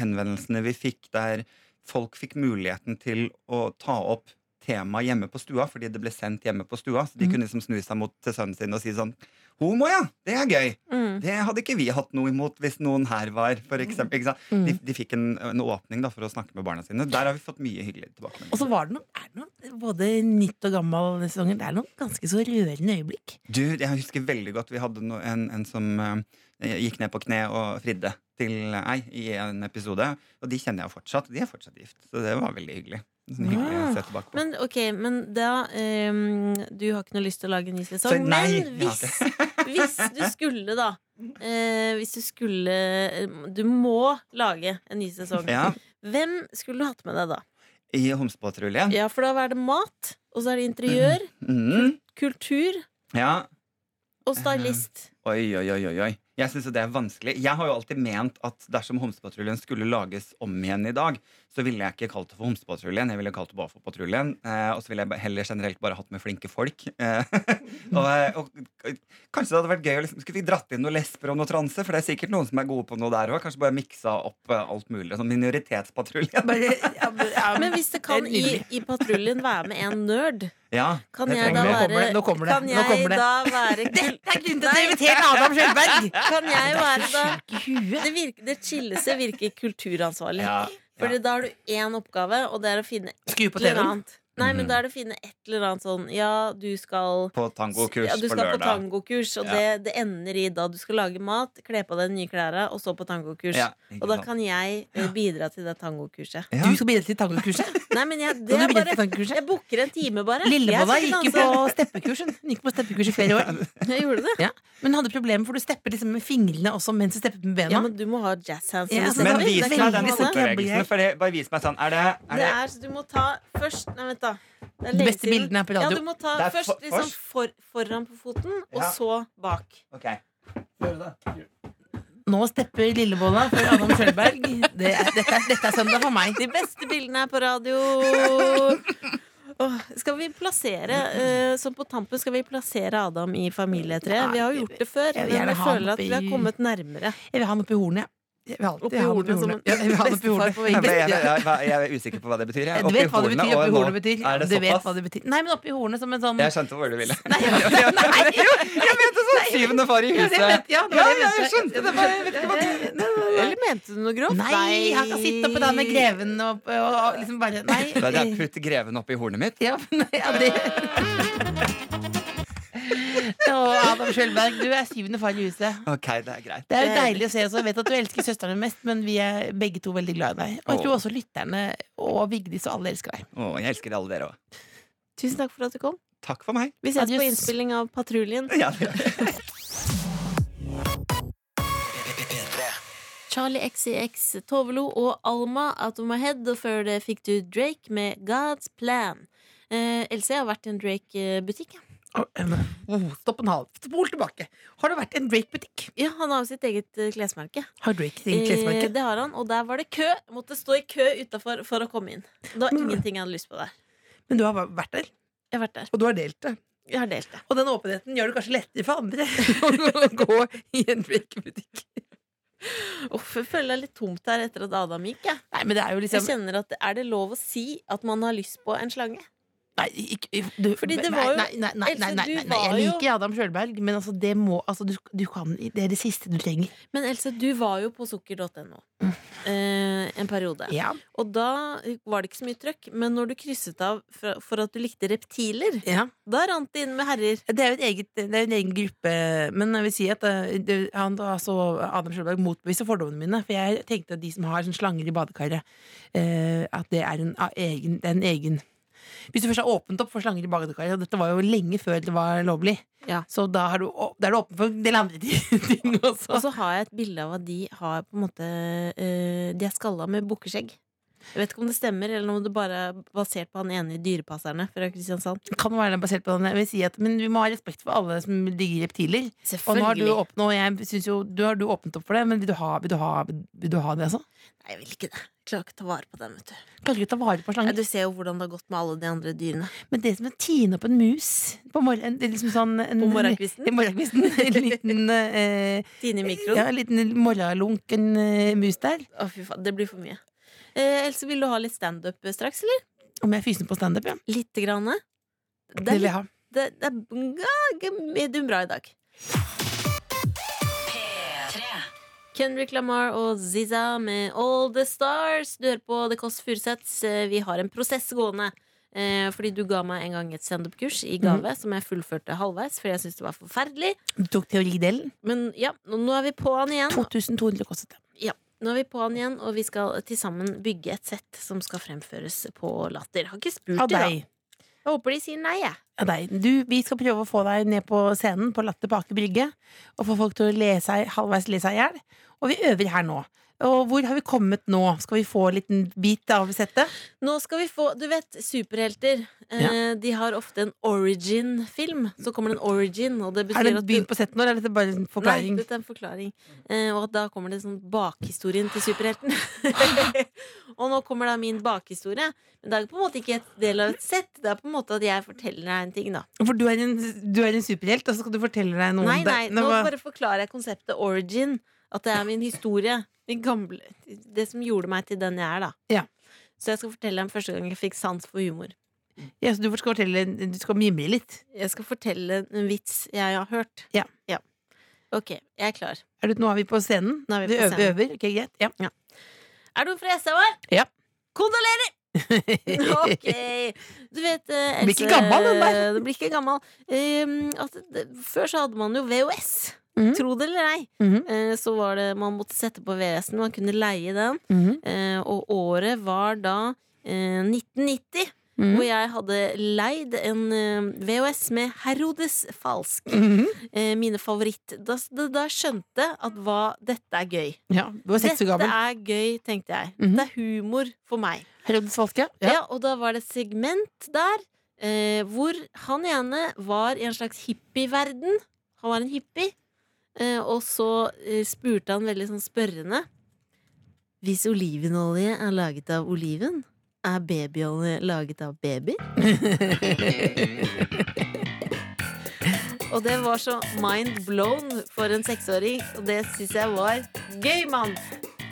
Speaker 5: henvendelsene vi fikk der folk fikk muligheten til å ta opp tema hjemme på stua, fordi det ble sendt hjemme på stua. Så de
Speaker 3: Mm.
Speaker 5: kunne liksom snu seg mot til sønnen sin og si sånn Homo, ja! Det er gøy!
Speaker 4: Mm.
Speaker 5: Det hadde ikke vi hatt noe imot hvis noen her var, for eksempel. Ikke sant?
Speaker 3: Mm.
Speaker 5: De, de fikk en, en åpning da, for å snakke med barna sine. Der har vi fått mye hyggelig tilbakemeldinger.
Speaker 3: Og så var det noen, er det noen både nytt og gammel denne sesongen. Det er noen ganske så rørende øyeblikk.
Speaker 5: Du, jeg husker veldig godt Vi hadde no, en, en som eh, gikk ned på kne og fridde til ei i en episode. Og de kjenner jeg jo fortsatt. De er fortsatt gift. Så det var veldig hyggelig. Sånn hyggelig å se tilbake på.
Speaker 4: Ah. Men ok, men da ehm, Du har ikke noe lyst til å lage en ny sesong.
Speaker 5: Så nei,
Speaker 4: men
Speaker 5: jeg har
Speaker 4: hvis, hvis du skulle, da eh, Hvis du skulle eh, Du må lage en ny sesong.
Speaker 5: ja,
Speaker 4: Hvem skulle du hatt med deg da?
Speaker 5: I Homsepatruljen.
Speaker 4: Ja, for da er det mat, og så er det interiør,
Speaker 5: Mm,
Speaker 4: kultur
Speaker 5: ja.
Speaker 4: og stylist.
Speaker 5: Oi, oi, oi, oi, oi. Jeg syns jo det er vanskelig. Jeg har jo alltid ment at dersom Homsepatruljen skulle lages om igjen i dag, så ville jeg ikke kalt det for Homsepatruljen, jeg ville kalt det bare for Patruljen. Eh, og så ville jeg ba- heller generelt bare hatt med flinke folk. Eh, og, eh, og, kanskje det hadde vært gøy å liksom, skulle vi dratt inn noen lesber og noe transe, for det er sikkert noen som er gode på noe der òg. Kanskje bare miksa opp eh, alt mulig. Sånn minoritetspatruljen.
Speaker 3: Bare, ja, men- ja,
Speaker 4: Men hvis det kan
Speaker 3: er
Speaker 4: i,
Speaker 3: nydelig.
Speaker 4: i patruljen være med en nerd,
Speaker 5: Ja,
Speaker 4: kan
Speaker 5: det
Speaker 4: jeg da
Speaker 5: trenger vi.
Speaker 3: Nå kommer det, nå kommer
Speaker 4: være
Speaker 3: det,
Speaker 4: Kan
Speaker 3: nå
Speaker 4: jeg
Speaker 3: kommer det.
Speaker 4: da være kul-
Speaker 3: Det er grunnen til at
Speaker 4: Nei,
Speaker 3: jeg inviterte Adam Sjølberg!
Speaker 4: Kan jeg være da
Speaker 3: Syk i huet.
Speaker 4: Det, virker, det chilleste virker kulturansvarlig.
Speaker 5: Ja,
Speaker 4: Fordi
Speaker 5: ja.
Speaker 4: da har du én oppgave, og det er å finne et
Speaker 3: Skru på
Speaker 4: eller
Speaker 3: TV-en.
Speaker 4: annet. Nei, men
Speaker 5: Mm.
Speaker 4: da er det å finne et eller annet sånn Ja, du skal
Speaker 5: På tangokurs
Speaker 4: ja, du
Speaker 5: på
Speaker 4: skal på
Speaker 5: lørdag.
Speaker 4: tangokurs, og
Speaker 5: Ja.
Speaker 4: det, det ender i da du skal lage mat, kle på deg de nye klærne, og så på tangokurs.
Speaker 5: Ja, ikke
Speaker 4: Og da
Speaker 5: sant.
Speaker 4: kan jeg eh, bidra til det tangokurset.
Speaker 5: Ja.
Speaker 3: Du skal bidra til tangokurset.
Speaker 4: Nei, men jeg,
Speaker 3: Kan
Speaker 4: det
Speaker 3: du
Speaker 4: er
Speaker 3: bidra til
Speaker 4: bare
Speaker 3: tangokurset?
Speaker 4: Jeg booker en time, bare.
Speaker 3: Lillebolla
Speaker 4: Jeg skal
Speaker 3: gikk jo
Speaker 4: ikke
Speaker 3: på steppekurs. hun. Hun gikk på steppekurs i flere år.
Speaker 4: danse. Jeg gjorde det.
Speaker 3: Ja. Men hun hadde problemer, for du stepper liksom med fingrene også mens du stepper med bena.
Speaker 4: Ja, men du må ha jazz hands.
Speaker 3: Ja, altså, så
Speaker 4: som du
Speaker 3: da
Speaker 5: Men
Speaker 4: snakker.
Speaker 3: vi-
Speaker 5: vis
Speaker 4: Det
Speaker 5: meg
Speaker 4: er
Speaker 5: den
Speaker 4: ikke noe
Speaker 3: fotball.
Speaker 4: av det.
Speaker 5: fotbevegelsen. for det- Bare vis meg sånn. Er det, er
Speaker 4: Det
Speaker 5: det
Speaker 4: er, så du må ta først Nei, vent, da. Det er
Speaker 3: De
Speaker 4: lenge
Speaker 3: beste
Speaker 4: siden.
Speaker 3: bildene er på
Speaker 4: Ja,
Speaker 3: radio.
Speaker 4: du må ta
Speaker 5: Det er
Speaker 4: først
Speaker 5: for-
Speaker 4: liksom
Speaker 5: først.
Speaker 4: for, foran på foten, og
Speaker 5: Ja.
Speaker 4: så bak.
Speaker 5: Ok.
Speaker 3: Nå stepper Lillebolla for Adam Sjølberg. Det er, dette, er- dette er søndag for meg.
Speaker 4: De beste bildene er på radio. Åh, skal vi plassere eh, Som på tampen skal vi plassere Adam i familietreet. Vi har jo gjort det før,
Speaker 3: Jeg vil
Speaker 4: men
Speaker 3: gjerne
Speaker 4: jeg
Speaker 3: ha han
Speaker 4: føler at
Speaker 3: oppi-
Speaker 4: vi har kommet nærmere.
Speaker 3: Jeg vil ha han oppi hornet. jeg. Jeg vil alltid
Speaker 4: Oppi
Speaker 3: ha han oppi
Speaker 4: hornet som
Speaker 3: hornet.
Speaker 4: en
Speaker 3: Ja, jeg vil ha han oppi
Speaker 4: bestefar
Speaker 3: hornet.
Speaker 4: på
Speaker 5: Jeg,
Speaker 4: veggen.
Speaker 5: ble- jeg, jeg, jeg, jeg er usikker på hva det betyr. Jeg.
Speaker 3: Du vet hva det
Speaker 5: hornet
Speaker 3: betyr.
Speaker 5: og
Speaker 3: Oppi
Speaker 5: nå.
Speaker 3: hornet betyr.
Speaker 5: Er det
Speaker 3: Du vet
Speaker 5: såpass?
Speaker 3: hva det betyr. Nei, men oppi hornet som en sånn
Speaker 5: Jeg skjønte hvor du ville.
Speaker 3: Nei, nei, nei.
Speaker 5: Jeg mente sånn syvende far
Speaker 3: Ja,
Speaker 5: i
Speaker 3: det vet-
Speaker 5: huset.
Speaker 3: ja, det var det jeg
Speaker 5: Ja, jeg
Speaker 3: mente.
Speaker 5: skjønte det, men jeg vet ikke hva det-
Speaker 4: Eller mente du noe grovt?
Speaker 3: Nei, han kan sitte oppi der med greven og, og, og liksom bare Nei.
Speaker 5: Da hadde jeg putt greven oppi hornet mitt.
Speaker 3: Ja, men, ja, det. Og Adam Sjølberg, du er syvende far i huset.
Speaker 5: Ok, det er greit.
Speaker 3: Det er jo deilig å se oss. Jeg vet at du elsker søstrene mest, men vi er begge to veldig glad i deg. Og jeg tror også lytterne og Vigdis og alle elsker deg.
Speaker 5: Å, jeg elsker alle dere òg.
Speaker 4: Tusen takk for at du kom.
Speaker 5: Takk for meg.
Speaker 4: Vi ses på
Speaker 3: Adjøs.
Speaker 4: innspilling av Patruljen.
Speaker 5: Ja, det gjør jeg.
Speaker 4: Charlie XCX, Tovelo og Alma Out of my head, og før det fikk du Drake med God's Plan. Eh, Else, jeg har vært i en Drake-butikk. jeg.
Speaker 3: Å, Emma. Oh, Stopp en halv. Spol tilbake. Har du vært i en Drake-butikk?
Speaker 4: Ja, han har jo sitt eget eh, klesmerke.
Speaker 3: Har Drake sin
Speaker 4: Eh,
Speaker 3: klesmerke?
Speaker 4: det har han, og der var det kø. Jeg Måtte stå i kø utafor for å komme inn. Det var
Speaker 3: Men-
Speaker 4: ingenting jeg hadde lyst på der.
Speaker 3: Eh, Men du har vært der,
Speaker 4: Jeg har vært der.
Speaker 3: og du har delt det.
Speaker 4: Jeg har delt det.
Speaker 3: Og den åpenheten gjør det kanskje lettere for andre å gå i en Drake-butikk.
Speaker 4: Uff, jeg føler jeg er litt tomt her etter at Adam gikk. Jeg,
Speaker 3: Nei, men det er jo
Speaker 4: jeg
Speaker 3: liksom
Speaker 4: kjenner at Er det lov å si at man har lyst på en slange?
Speaker 3: Nei, ikke, du,
Speaker 4: Fordi det
Speaker 3: nei,
Speaker 4: var jo-
Speaker 3: nei, nei, nei, nei,
Speaker 4: Else,
Speaker 3: nei,
Speaker 4: du
Speaker 3: nei, nei, jeg
Speaker 4: var jo-
Speaker 3: liker Adam Sjølberg, men altså, det må altså, du, du kan, Det er det siste du trenger.
Speaker 4: Men Else, du var jo på sukker.no eh, en periode.
Speaker 3: Ja.
Speaker 4: Og da var det ikke så mye trøkk, men når du krysset av for, for at du likte reptiler,
Speaker 3: ja.
Speaker 4: da rant det inn med herrer.
Speaker 3: Det er jo et eget, det er en egen gruppe, men jeg vil si at eh, det, han, altså, Adam Sjølberg motbeviser fordommene mine. For jeg tenkte at de som har sånn slanger i badekaret, eh, at det er en a- egen, det er en egen Hvis du først har åpnet opp for slanger i badekaret, og dette var jo lenge før det var lovlig,
Speaker 4: Ja.
Speaker 3: så da, har du, å- da er du åpen for en del andre ting også.
Speaker 4: Og så har jeg et bilde av at de har på en måte eh, De er skalla med bukkeskjegg. Jeg vet ikke om det stemmer, eller om det bare er basert på han ene i Dyrepasserne fra Kristiansand.
Speaker 3: kan være det basert på den. Jeg vil si at, men vi må ha respekt for alle som digger reptiler. Og nå har du,
Speaker 4: Selvfølgelig.
Speaker 3: åpnet, og jeg synes jo, du har du åpnet opp for det, men vil du ha, vil du ha, vil du ha det, altså?
Speaker 4: Nei, jeg vil ikke det. Jeg Klarer ikke å ta vare på dem, vet du.
Speaker 3: Klarer ikke å ta vare på
Speaker 4: Nei,
Speaker 3: slanger.
Speaker 4: du ser jo hvordan det har gått med alle de andre dyrene.
Speaker 3: Men det som er å tine opp en mus på morgenen det er liksom sånn, en,
Speaker 4: På morgenkvisten?
Speaker 3: I morgenkvisten. En liten, eh,
Speaker 4: Tine i mikroen.
Speaker 3: ja, en liten morgenlunken eh, mus der.
Speaker 4: Å, fy faen. Det blir for mye. Eh, Else, vil du ha litt standup straks, eller?
Speaker 3: Om jeg fyser på standup, ja.
Speaker 4: Lite grann? Det
Speaker 3: Det
Speaker 4: er
Speaker 3: vil jeg ha.
Speaker 4: Det, det er ganske medium bra i dag. Kendrick Lamar og Zizza med All The Stars. Du hører på The Kåss Furuseths. Eh, Vi har en prosess gående. Eh, fordi du ga meg en gang et standup-kurs i gave
Speaker 3: Mhm.
Speaker 4: som jeg fullførte halvveis. Fordi jeg syntes det var forferdelig.
Speaker 3: Du tok teoridelen.
Speaker 4: Men ja, nå- nå er vi på han igjen.
Speaker 3: 2200 kostet det.
Speaker 4: Nå er vi på han igjen, og vi skal til sammen bygge et sett som skal fremføres på latter. Har ikke spurt
Speaker 3: Av
Speaker 4: de, da.
Speaker 3: deg.
Speaker 4: Jeg håper de sier nei, jeg.
Speaker 3: Av deg. Du, vi skal prøve å få deg ned på scenen på Latter på Aker Brygge. Og få folk til å le seg, halvveis le seg i hjel. Og vi øver her nå. Og hvor har vi kommet nå? Skal vi få en liten bit av settet?
Speaker 4: Nå skal vi få Du vet, superhelter eh, De har ofte en origin-film. Så kommer det en origin, og det
Speaker 3: Er
Speaker 4: betyr
Speaker 3: det
Speaker 4: at du
Speaker 3: begynt på settet nå, eller er dette bare en
Speaker 4: Nei,
Speaker 3: forklaring?
Speaker 4: dette er en forklaring. Eh, og at da kommer det sånn bakhistorien til superhelten. og nå kommer da min bakhistorie. Men det er jo på en måte ikke et del av et sett. Det er på en måte at jeg forteller deg en ting, da.
Speaker 3: For du er en, du er en superhelt, og så skal du fortelle deg noe
Speaker 4: Nei,
Speaker 3: om det.
Speaker 4: nei, nå bare forklarer jeg konseptet origin. At det er min historie. Min gamle, det som gjorde meg til den jeg er, da.
Speaker 3: Ja.
Speaker 4: Så jeg skal fortelle om første gang jeg fikk sans for humor.
Speaker 3: Ja, så du skal fortelle, du skal mimre litt.
Speaker 4: Jeg skal fortelle en vits jeg har hørt.
Speaker 3: Ja.
Speaker 4: Ok, jeg er klar.
Speaker 3: Er du, nå er vi på scenen.
Speaker 4: Nå er vi
Speaker 3: du
Speaker 4: på
Speaker 3: øver,
Speaker 4: scenen.
Speaker 3: øver. Ok, greit. Ja.
Speaker 4: Er du fra SVR?
Speaker 3: Ja.
Speaker 4: Kondolerer! Ok. Du vet, eh, Else
Speaker 3: Blir ikke gammel, den der.
Speaker 4: Du blir ikke gammel. Ehm, at, det, før så hadde man jo VHS.
Speaker 3: Mhm.
Speaker 4: Tro det eller ei.
Speaker 3: Mhm,
Speaker 4: Eh, så var det Man måtte sette på VHS-en. Man kunne leie den.
Speaker 3: mhm,
Speaker 4: Eh, og året var da eh, 1990.
Speaker 3: mhm,
Speaker 4: Hvor jeg hadde leid en eh, VHS med Herodes Falsk.
Speaker 3: mhm.
Speaker 4: eh, mine favoritt da, da, da skjønte jeg at hva, dette er gøy.
Speaker 3: Ja, du var seks
Speaker 4: Dette
Speaker 3: år gammel.
Speaker 4: er gøy, tenkte jeg.
Speaker 3: Mhm.
Speaker 4: Det er humor for meg.
Speaker 3: Herodes Falske.
Speaker 4: Ja. og da var det et segment der eh, hvor han ene var i en slags hippieverden. Han var en hippie. Eh, og så eh, spurte han veldig sånn spørrende. Hvis olivenolje er laget av oliven, er babyolje laget av baby? Og det var så mind blown for en seksåring, og det syns jeg var gøy, mann.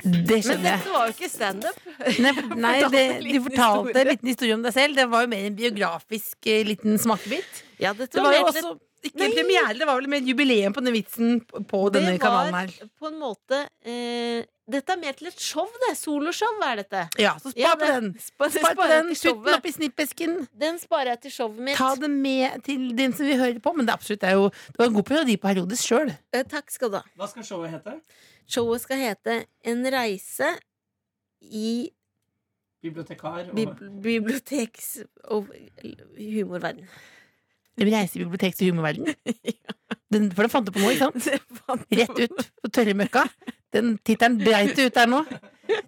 Speaker 3: Det
Speaker 4: Men
Speaker 3: skjønner jeg.
Speaker 4: dette var jo ikke standup.
Speaker 3: Nei, nei det,
Speaker 4: en
Speaker 3: du
Speaker 4: liten
Speaker 3: fortalte en
Speaker 4: historie.
Speaker 3: liten historie om deg selv. Det var jo mer en biografisk eh, liten smakebit.
Speaker 4: Ja, dette
Speaker 3: Det
Speaker 4: var
Speaker 3: var jo
Speaker 4: mer til
Speaker 3: også ikke
Speaker 4: Nei.
Speaker 3: en premiere, det var vel mer jubileum på denne vitsen på på
Speaker 4: Det
Speaker 3: denne
Speaker 4: var
Speaker 3: kanalen her.
Speaker 4: på en måte eh, Dette er mer til et show, det. Soloshow er dette.
Speaker 3: Ja, så spar
Speaker 4: Ja,
Speaker 3: på
Speaker 4: det-
Speaker 3: den.
Speaker 4: Spar,
Speaker 3: Spar på den, Putt den
Speaker 4: showet.
Speaker 3: oppi snippesken.
Speaker 4: Den sparer jeg til showet mitt.
Speaker 3: Ta den med til den som vi hører på. Men det er absolutt det er jo Det var en god periodiperiode sjøl.
Speaker 4: Eh, Takk skal du ha.
Speaker 1: Hva skal showet hete?
Speaker 4: Showet skal hete En reise i
Speaker 1: Bibliotekar?
Speaker 4: bib biblioteks- og humorverden.
Speaker 3: En reise i biblioteks- og humorverden. Den, for den fant du på nå, ikke sant?
Speaker 4: Det fant jeg
Speaker 3: Rett
Speaker 4: på.
Speaker 3: ut på tørre møkka. Den tittelen dreit du ut der nå.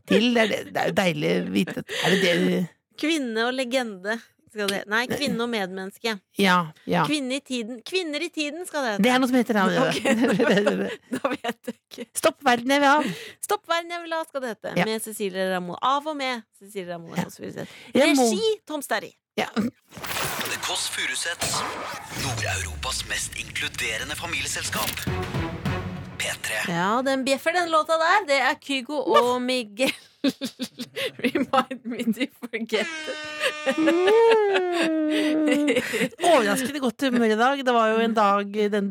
Speaker 3: Til, det, er det, det er jo deilig å vite at Er det det
Speaker 4: Kvinne og legende. Skal det. Nei, kvinne og medmenneske.
Speaker 3: Ja. ja.
Speaker 4: Kvinne i tiden. Kvinner i tiden skal det hete.
Speaker 3: Det er noe som heter
Speaker 4: Ok.
Speaker 3: det.
Speaker 4: Da vet jeg ikke.
Speaker 3: Stopp verden jeg vil ha.
Speaker 4: Stopp verden jeg vil ha, skal det hete.
Speaker 3: Ja.
Speaker 4: Med Cecilie Ramon. Av og med Cecilie Ramon.
Speaker 3: Ja.
Speaker 4: Kåss Furuseth.
Speaker 3: Jeg må-
Speaker 4: Regi Tom Sterry.
Speaker 3: Ja.
Speaker 2: The Kåss Furuseths. Nord-Europas mest inkluderende familieselskap. P3.
Speaker 4: Ja, den bjeffer, den låta der. Det er Kygo og Miguel. Remind me to forget it.
Speaker 3: Overraskende godt humør i dag. Det var jo en dag den,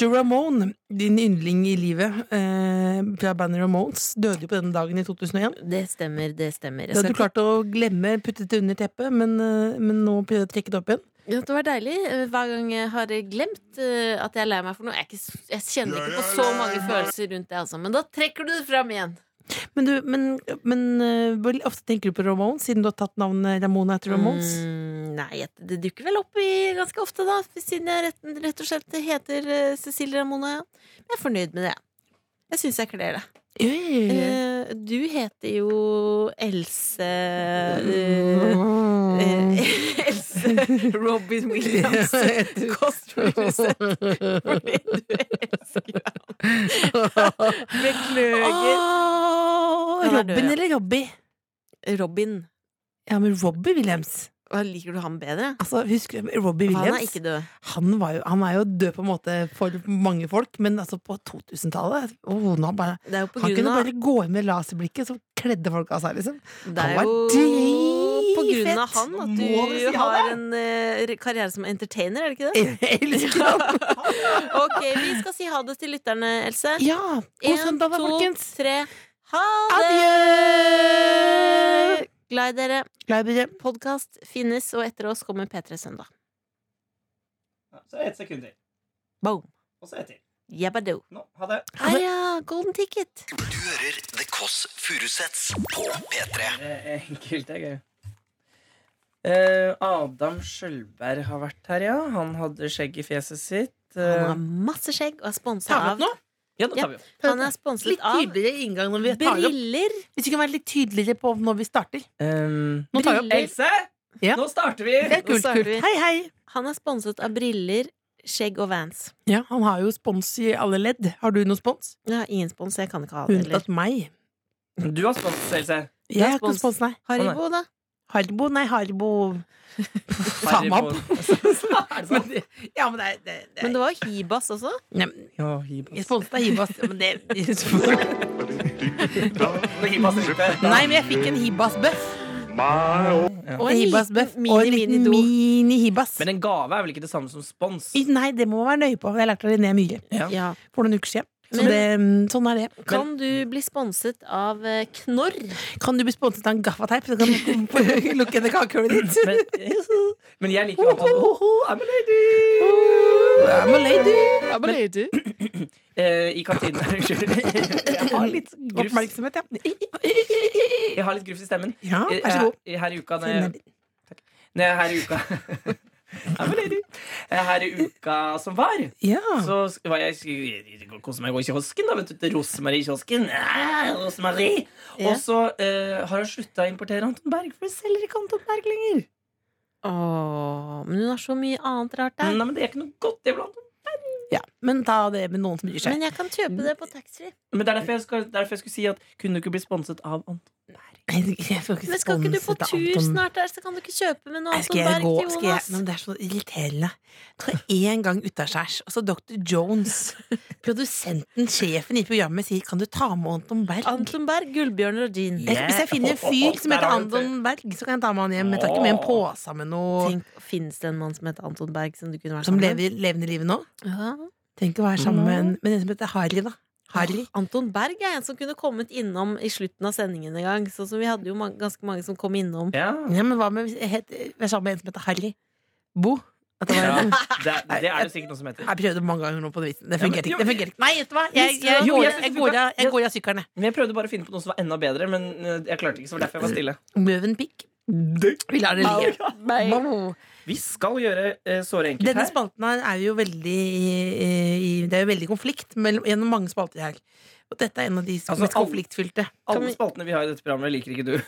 Speaker 3: Joe Ramone, din yndling i livet eh, fra bandet Ramones, døde jo på denne dagen i 2001.
Speaker 4: Det stemmer, det stemmer. Jeg
Speaker 3: Det hadde
Speaker 4: skal
Speaker 3: du klart å glemme, puttet det under teppet, men, eh, men nå prøver jeg å trekke det opp igjen.
Speaker 4: ikke- Ja, det var deilig. Eh, Hver gang jeg har glemt eh, at jeg er lei meg for noe. Jeg, er ikke, s- jeg kjenner ikke på så mange følelser rundt det, altså. Men da trekker du det fram igjen.
Speaker 3: Men, du, men, men eh, hvor ofte tenker du på Ramones, siden du har tatt navnet Ramona etter Ramones?
Speaker 4: Mm, nei, jeg- det dukker vel opp i ganske ofte, da. Siden jeg rett, rett og slett heter eh, Cecilie Ramona. ja. Men jeg er fornøyd med det. Jeg syns jeg kler det.
Speaker 3: Yeah.
Speaker 4: Eh, du heter jo Else eh,
Speaker 3: Mm.
Speaker 4: eh, Else Robin Williams. Kåss Furuseth, fordi du elsker ham. Beklager.
Speaker 3: Åh,
Speaker 4: Han er død,
Speaker 3: Robin
Speaker 4: ja.
Speaker 3: eller Robbie?
Speaker 4: Robin.
Speaker 3: Ja, men Robbie Williams.
Speaker 4: Hva, Liker du ham bedre?
Speaker 3: Altså, husker du Robbie Williams?
Speaker 4: Han er ikke død.
Speaker 3: han, var jo, han er jo død på en måte for mange folk, men altså på 2000-tallet oh, nå bare,
Speaker 4: Det er jo på
Speaker 3: Han
Speaker 4: grunn
Speaker 3: kunne
Speaker 4: av
Speaker 3: bare gå inn med laserblikket, så kledde folk av seg, liksom.
Speaker 4: Det er
Speaker 3: Han
Speaker 4: jo
Speaker 3: var
Speaker 4: på grunn av
Speaker 3: dritfett.
Speaker 4: han at
Speaker 1: Må vi si
Speaker 4: du
Speaker 1: ha
Speaker 4: har
Speaker 1: det?
Speaker 4: en eh, karriere som entertainer, er det ikke det?
Speaker 3: Jeg elsker han!
Speaker 4: Ok, vi skal si ha det til lytterne, Else.
Speaker 3: Ja! God
Speaker 4: En,
Speaker 3: søndag, da,
Speaker 4: to,
Speaker 3: folkens!
Speaker 4: tre. Ha det!
Speaker 3: Adjø!
Speaker 4: Glad i dere.
Speaker 3: Glad i dere.
Speaker 4: Podkast finnes, og etter oss kommer P3 Søndag.
Speaker 1: Så ett sekund til.
Speaker 4: Boom.
Speaker 1: Og så ett til.
Speaker 4: Jabadoo.
Speaker 1: Nå, ha det.
Speaker 4: Heia, golden ticket!
Speaker 2: Du hører The Kåss Furuseths på P3.
Speaker 1: Det er enkelt, det er gøy. Eh, Adam Skjølberg har vært her, ja. Han hadde skjegg i fjeset sitt.
Speaker 4: Han
Speaker 1: Eh,
Speaker 4: har masse skjegg og er sponsa
Speaker 3: Tar vi opp
Speaker 4: av
Speaker 3: nå?
Speaker 1: ja, nå tar vi opp.
Speaker 4: Han er sponset
Speaker 3: Litt
Speaker 4: av
Speaker 3: tydeligere inngang når vi tar det opp.
Speaker 4: briller.
Speaker 3: Hvis vi kan være litt tydeligere på når vi starter.
Speaker 1: Um,
Speaker 3: Nå tar vi opp.
Speaker 1: Else,
Speaker 3: Ja.
Speaker 1: nå starter vi!
Speaker 3: Det er
Speaker 4: Nå
Speaker 3: kult,
Speaker 4: starter
Speaker 3: kult.
Speaker 4: vi.
Speaker 3: Hei, hei!
Speaker 4: Han er sponset av briller, skjegg og Vans.
Speaker 3: Ja, han har jo spons i alle ledd. Har du noe spons?
Speaker 4: Jeg har ingen spons, jeg kan ikke ha det heller.
Speaker 3: Unntatt meg.
Speaker 1: Du har spons, Else.
Speaker 3: Jeg har ikke
Speaker 4: spons.
Speaker 3: noe spons, nei.
Speaker 4: Haribo, da?
Speaker 3: Haribo? Nei, Haribo Faen meg.
Speaker 1: sånn.
Speaker 3: Men det- Ja, men det er- det- det er-
Speaker 4: Men det var jo Hibas også.
Speaker 3: Nei, men jeg sponset av Hibas. Men det, nei, men jeg fikk en Hibas-bøff.
Speaker 4: Og
Speaker 3: En Hibas-bøff og en liten
Speaker 4: mini-mini-do.
Speaker 3: mini-Hibas.
Speaker 1: Men en gave er vel ikke det samme som spons?
Speaker 3: Nei, det må man være nøye på. Jeg lærte av René Myhre
Speaker 4: Ja.
Speaker 3: for noen uker siden. Så
Speaker 4: Men-
Speaker 3: det, mm, sånn er det.
Speaker 4: Kan du bli sponset av eh, Knorr?
Speaker 3: Kan du bli sponset av en gaffateip, så kan du lukke ned kakehullet ditt.
Speaker 1: Men, men jeg liker jo at han oh, oh, I'm a lady!
Speaker 3: I'm a lady. I'm a
Speaker 1: Men-
Speaker 3: lady.
Speaker 1: Eh, I kantina Jeg har litt grufs.
Speaker 3: Oppmerksomhet, ja.
Speaker 1: Jeg har litt grufs i stemmen.
Speaker 3: Ja,
Speaker 1: Eh,
Speaker 3: Ah, vær så god.
Speaker 1: eh, Her i uka når jeg,
Speaker 3: Siden jeg-
Speaker 1: når jeg her i uka I'm a lady. Eh, Her i uka som var,
Speaker 3: Ja.
Speaker 1: så sk- var jeg sk- koste meg å gå i kiosken. da, vet du, til Rosemarie-kiosken. Ah, Rosemarie!
Speaker 4: Ja.
Speaker 1: Og så eh, har hun slutta å importere Anton Berg, for hun selger ikke Anton Berg lenger.
Speaker 4: Åh, men hun har så mye annet rart der.
Speaker 1: Nei, men Det er ikke noe godt. Det er blant
Speaker 3: ja. Men ta det med noen som bryr seg.
Speaker 4: Men jeg kan kjøpe det på taxfree.
Speaker 1: Men det er derfor jeg, skal, derfor jeg skulle si at kunne du ikke bli sponset av Anton?
Speaker 3: Jeg får ikke
Speaker 4: Men skal ikke du på
Speaker 3: sponset av
Speaker 4: tur
Speaker 3: Anton
Speaker 4: snart der, så kan du ikke kjøpe med noe
Speaker 3: Nei,
Speaker 4: Anton
Speaker 3: skal jeg
Speaker 4: Berg
Speaker 3: gå
Speaker 4: til
Speaker 3: skal jeg,
Speaker 4: Jonas?
Speaker 3: men Det er så irriterende. Skal én gang utaskjærs, og så Dr. Jones, produsenten, sjefen i programmet, sier 'Kan du ta med Anton Berg'?
Speaker 4: Anton Berg, Gullbjørn og Jean.
Speaker 3: Jeg, hvis jeg finner en fyr som heter Anton Berg, så kan jeg ta med han hjem. Jeg tar ikke med en pose med noe
Speaker 4: Tenk, Fins det en mann som heter Anton Berg, som du kunne vært
Speaker 3: som
Speaker 4: sammen med?
Speaker 3: lever levende livet nå. Mm.
Speaker 4: Ja.
Speaker 3: Tenk å være sammen med en, men en som heter Harry, da. Harry.
Speaker 4: Anton Berg er en som kunne kommet innom i slutten av sendingen en gang. Sånn som vi hadde jo man- ganske mange som kom innom.
Speaker 1: Ja.
Speaker 3: Ja, men hva med het, Vær sammen med en som heter Harry Bo? At det var,
Speaker 1: ja. Det, det er det sikkert noe som heter.
Speaker 3: Jeg prøvde mange ganger nå på den vitsen. Det
Speaker 1: Ja, men-
Speaker 3: fungerte
Speaker 1: jo,
Speaker 3: ikke. Det fungerte ikke. Nei, vet du hva? Jeg,
Speaker 1: Visste du
Speaker 3: jeg,
Speaker 1: det? Jo,
Speaker 3: går-
Speaker 1: jeg
Speaker 3: jeg
Speaker 1: synes det
Speaker 3: går
Speaker 1: funka.
Speaker 3: av- jeg går av sykkelen, jeg.
Speaker 1: Men jeg prøvde bare å finne på noe som var enda bedre, men eh, jeg klarte ikke. så det var derfor jeg var stille
Speaker 3: Møvenpick. Vi lar det ligge. Wow.
Speaker 1: Vi skal gjøre eh, såre enkelt
Speaker 3: Denne
Speaker 1: her.
Speaker 3: spalten her er jo veldig eh, i, Det er jo veldig konflikt mellom, gjennom mange spalter her. Og dette er en av de som
Speaker 1: Altså,
Speaker 3: mest
Speaker 1: alle-
Speaker 3: konfliktfylte.
Speaker 1: Alle spaltene vi har i dette programmet, liker ikke du.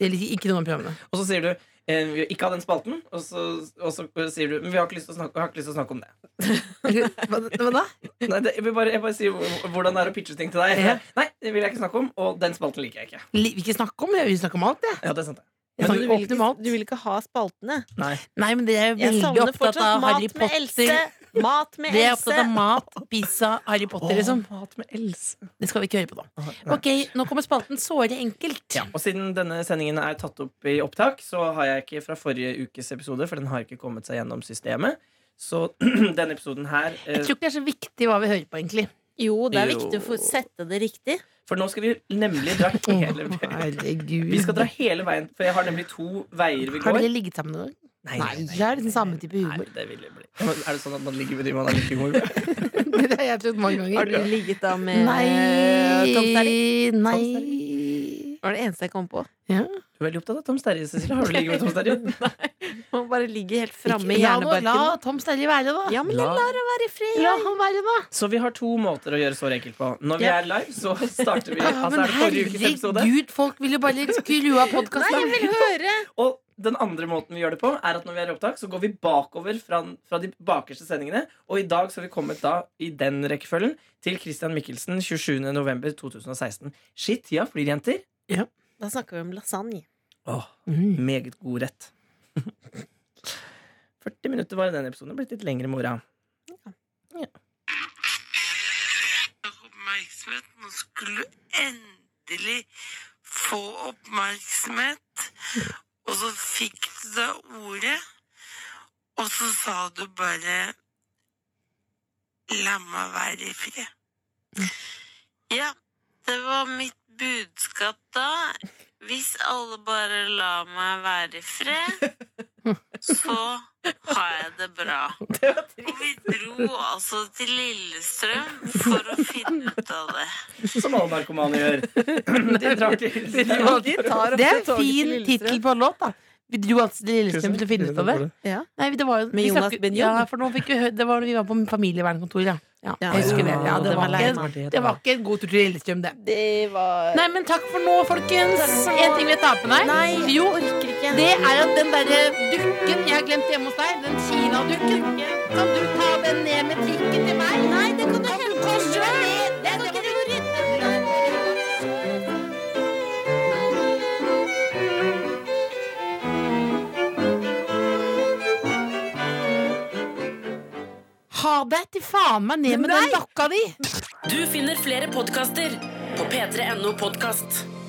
Speaker 3: Eller ikke noen av programmene.
Speaker 1: Og så sier du eh, vi har ikke av den spalten, og så, og så sier du Men vi har ikke lyst til å snakke, jeg har ikke lyst til å snakke om det.
Speaker 3: Hva, hva da?
Speaker 1: Nei, det jeg, vil bare, jeg bare sier hvor- hvordan det er å pitche ting til deg.
Speaker 3: Ja.
Speaker 1: Nei, det vil jeg ikke snakke om, og den spalten liker jeg ikke.
Speaker 3: Li- Vi ikke snakke om det, vi snakker om alt, jeg.
Speaker 1: Ja, det er sant, det.
Speaker 3: jeg
Speaker 4: Men
Speaker 3: snakker
Speaker 4: du vil,
Speaker 3: åpent om
Speaker 4: ikke,
Speaker 3: alt.
Speaker 4: du vil ikke ha spaltene.
Speaker 1: Nei.
Speaker 3: Nei, men dere er jo
Speaker 4: Jeg
Speaker 3: veldig
Speaker 4: savner
Speaker 3: opptatt
Speaker 4: fortsatt
Speaker 3: av
Speaker 4: mat
Speaker 3: Harry
Speaker 4: med
Speaker 3: Potter.
Speaker 4: Else! Mat med
Speaker 3: Dere er
Speaker 4: Else!
Speaker 3: opptatt av mat, pizza, Harry Potter, liksom.
Speaker 1: Åh, mat med Else.
Speaker 3: Det skal vi ikke høre på, da. Ok, Nå kommer spalten Såre enkelt.
Speaker 1: Ja, og siden denne sendingen er tatt opp i opptak, så har jeg ikke fra forrige ukes episode, for den har ikke kommet seg gjennom systemet. Så denne episoden her eh,
Speaker 3: Jeg tror ikke det er så viktig hva vi hører på, egentlig.
Speaker 4: Jo, det er
Speaker 1: Jo.
Speaker 4: viktig å få sette det riktig.
Speaker 1: For nå skal vi nemlig dra hele
Speaker 3: Å, herregud.
Speaker 1: Vi skal dra hele veien, for jeg har nemlig to veier vi
Speaker 3: Har
Speaker 1: går.
Speaker 3: dere ligget sammen noen gang? Nei, jeg er liksom samme type humor.
Speaker 1: Nei, det vil jeg bli. Er det sånn at man ligger med de man har litt humor med?
Speaker 3: Det har jeg trodd mange
Speaker 4: Har du
Speaker 3: ganger.
Speaker 4: ligget da med Eh, Tom Terje?
Speaker 3: Nei, nei
Speaker 4: var det eneste jeg kom på.
Speaker 3: ja.
Speaker 1: Du er veldig opptatt av Tom Sterje, Cecilie. Har du ligget med Tom Sterje?
Speaker 4: Man bare ligger helt framme i
Speaker 3: Ikke- la nå- La
Speaker 4: hjernebarken.
Speaker 3: Tom Sterje være, da.
Speaker 4: Ja, men jeg
Speaker 1: La-
Speaker 4: lar det være i fred.
Speaker 3: La han være, da.
Speaker 1: Så vi har to måter å gjøre sår enkelt på. Når vi
Speaker 4: Ja.
Speaker 1: er live, så starter vi.
Speaker 3: Ja,
Speaker 1: Altså
Speaker 3: men
Speaker 1: er det forrige ukes episode.
Speaker 3: herregud, folk vil jo bare skru av
Speaker 4: Nei, jeg
Speaker 3: podkasten.
Speaker 4: vil høre!
Speaker 1: Og den andre måten vi gjør det på, er at når vi er i opptak, så går vi bakover fra, fra de bakerste sendingene. Og i dag så har vi kommet da, i den rekkefølgen, til Christian Michelsen 27. november 2016. Shit, tida flyr, jenter.
Speaker 4: Da snakker vi om lasagne.
Speaker 1: Åh, meget god rett. 40 minutter var i den episoden. Det har blitt litt lengre i morgen.
Speaker 7: oppmerksomhet. Nå skulle du endelig få oppmerksomhet. Og så fikk du da ordet, og så sa du bare La meg være i fred.
Speaker 3: Mm.
Speaker 7: Ja, det var mitt budskap da. Hvis alle bare lar meg være i fred, så har jeg det bra. Og vi dro altså til Lillestrøm for å finne ut av det.
Speaker 1: Som alle narkomane gjør. De drar til
Speaker 3: Det er en fin tittel på en låt, da. Vi dro altså til Lillestrøm til å finne ut av det.
Speaker 4: Ja.
Speaker 3: Nei, det var jo,
Speaker 4: Med
Speaker 3: vi
Speaker 4: Jonas
Speaker 3: snakket-
Speaker 4: Benjob.
Speaker 3: Ja, for nå fikk vi, hø- det var, vi var på familievernkontoret, ja. ja.
Speaker 4: Ja,
Speaker 3: jeg husker det. Ja, det,
Speaker 4: den
Speaker 3: var
Speaker 4: var lei
Speaker 3: ikke, en- det var ikke en god tur til Lillestrøm, det.
Speaker 4: Det var
Speaker 3: Nei, men takk for nå, folkens. En ting vi tar på deg.
Speaker 4: Nei,
Speaker 3: jo,
Speaker 4: orker ikke.
Speaker 3: det er at den derre dukken jeg har glemt hjemme hos deg, den Kina-dukken Kan du ta den ned med trikken til meg? Nei, det kan du hente sjøl. Det kan du Ha deg til faen meg ned med den dokka di!
Speaker 8: Du finner flere podkaster på p3.no podkast.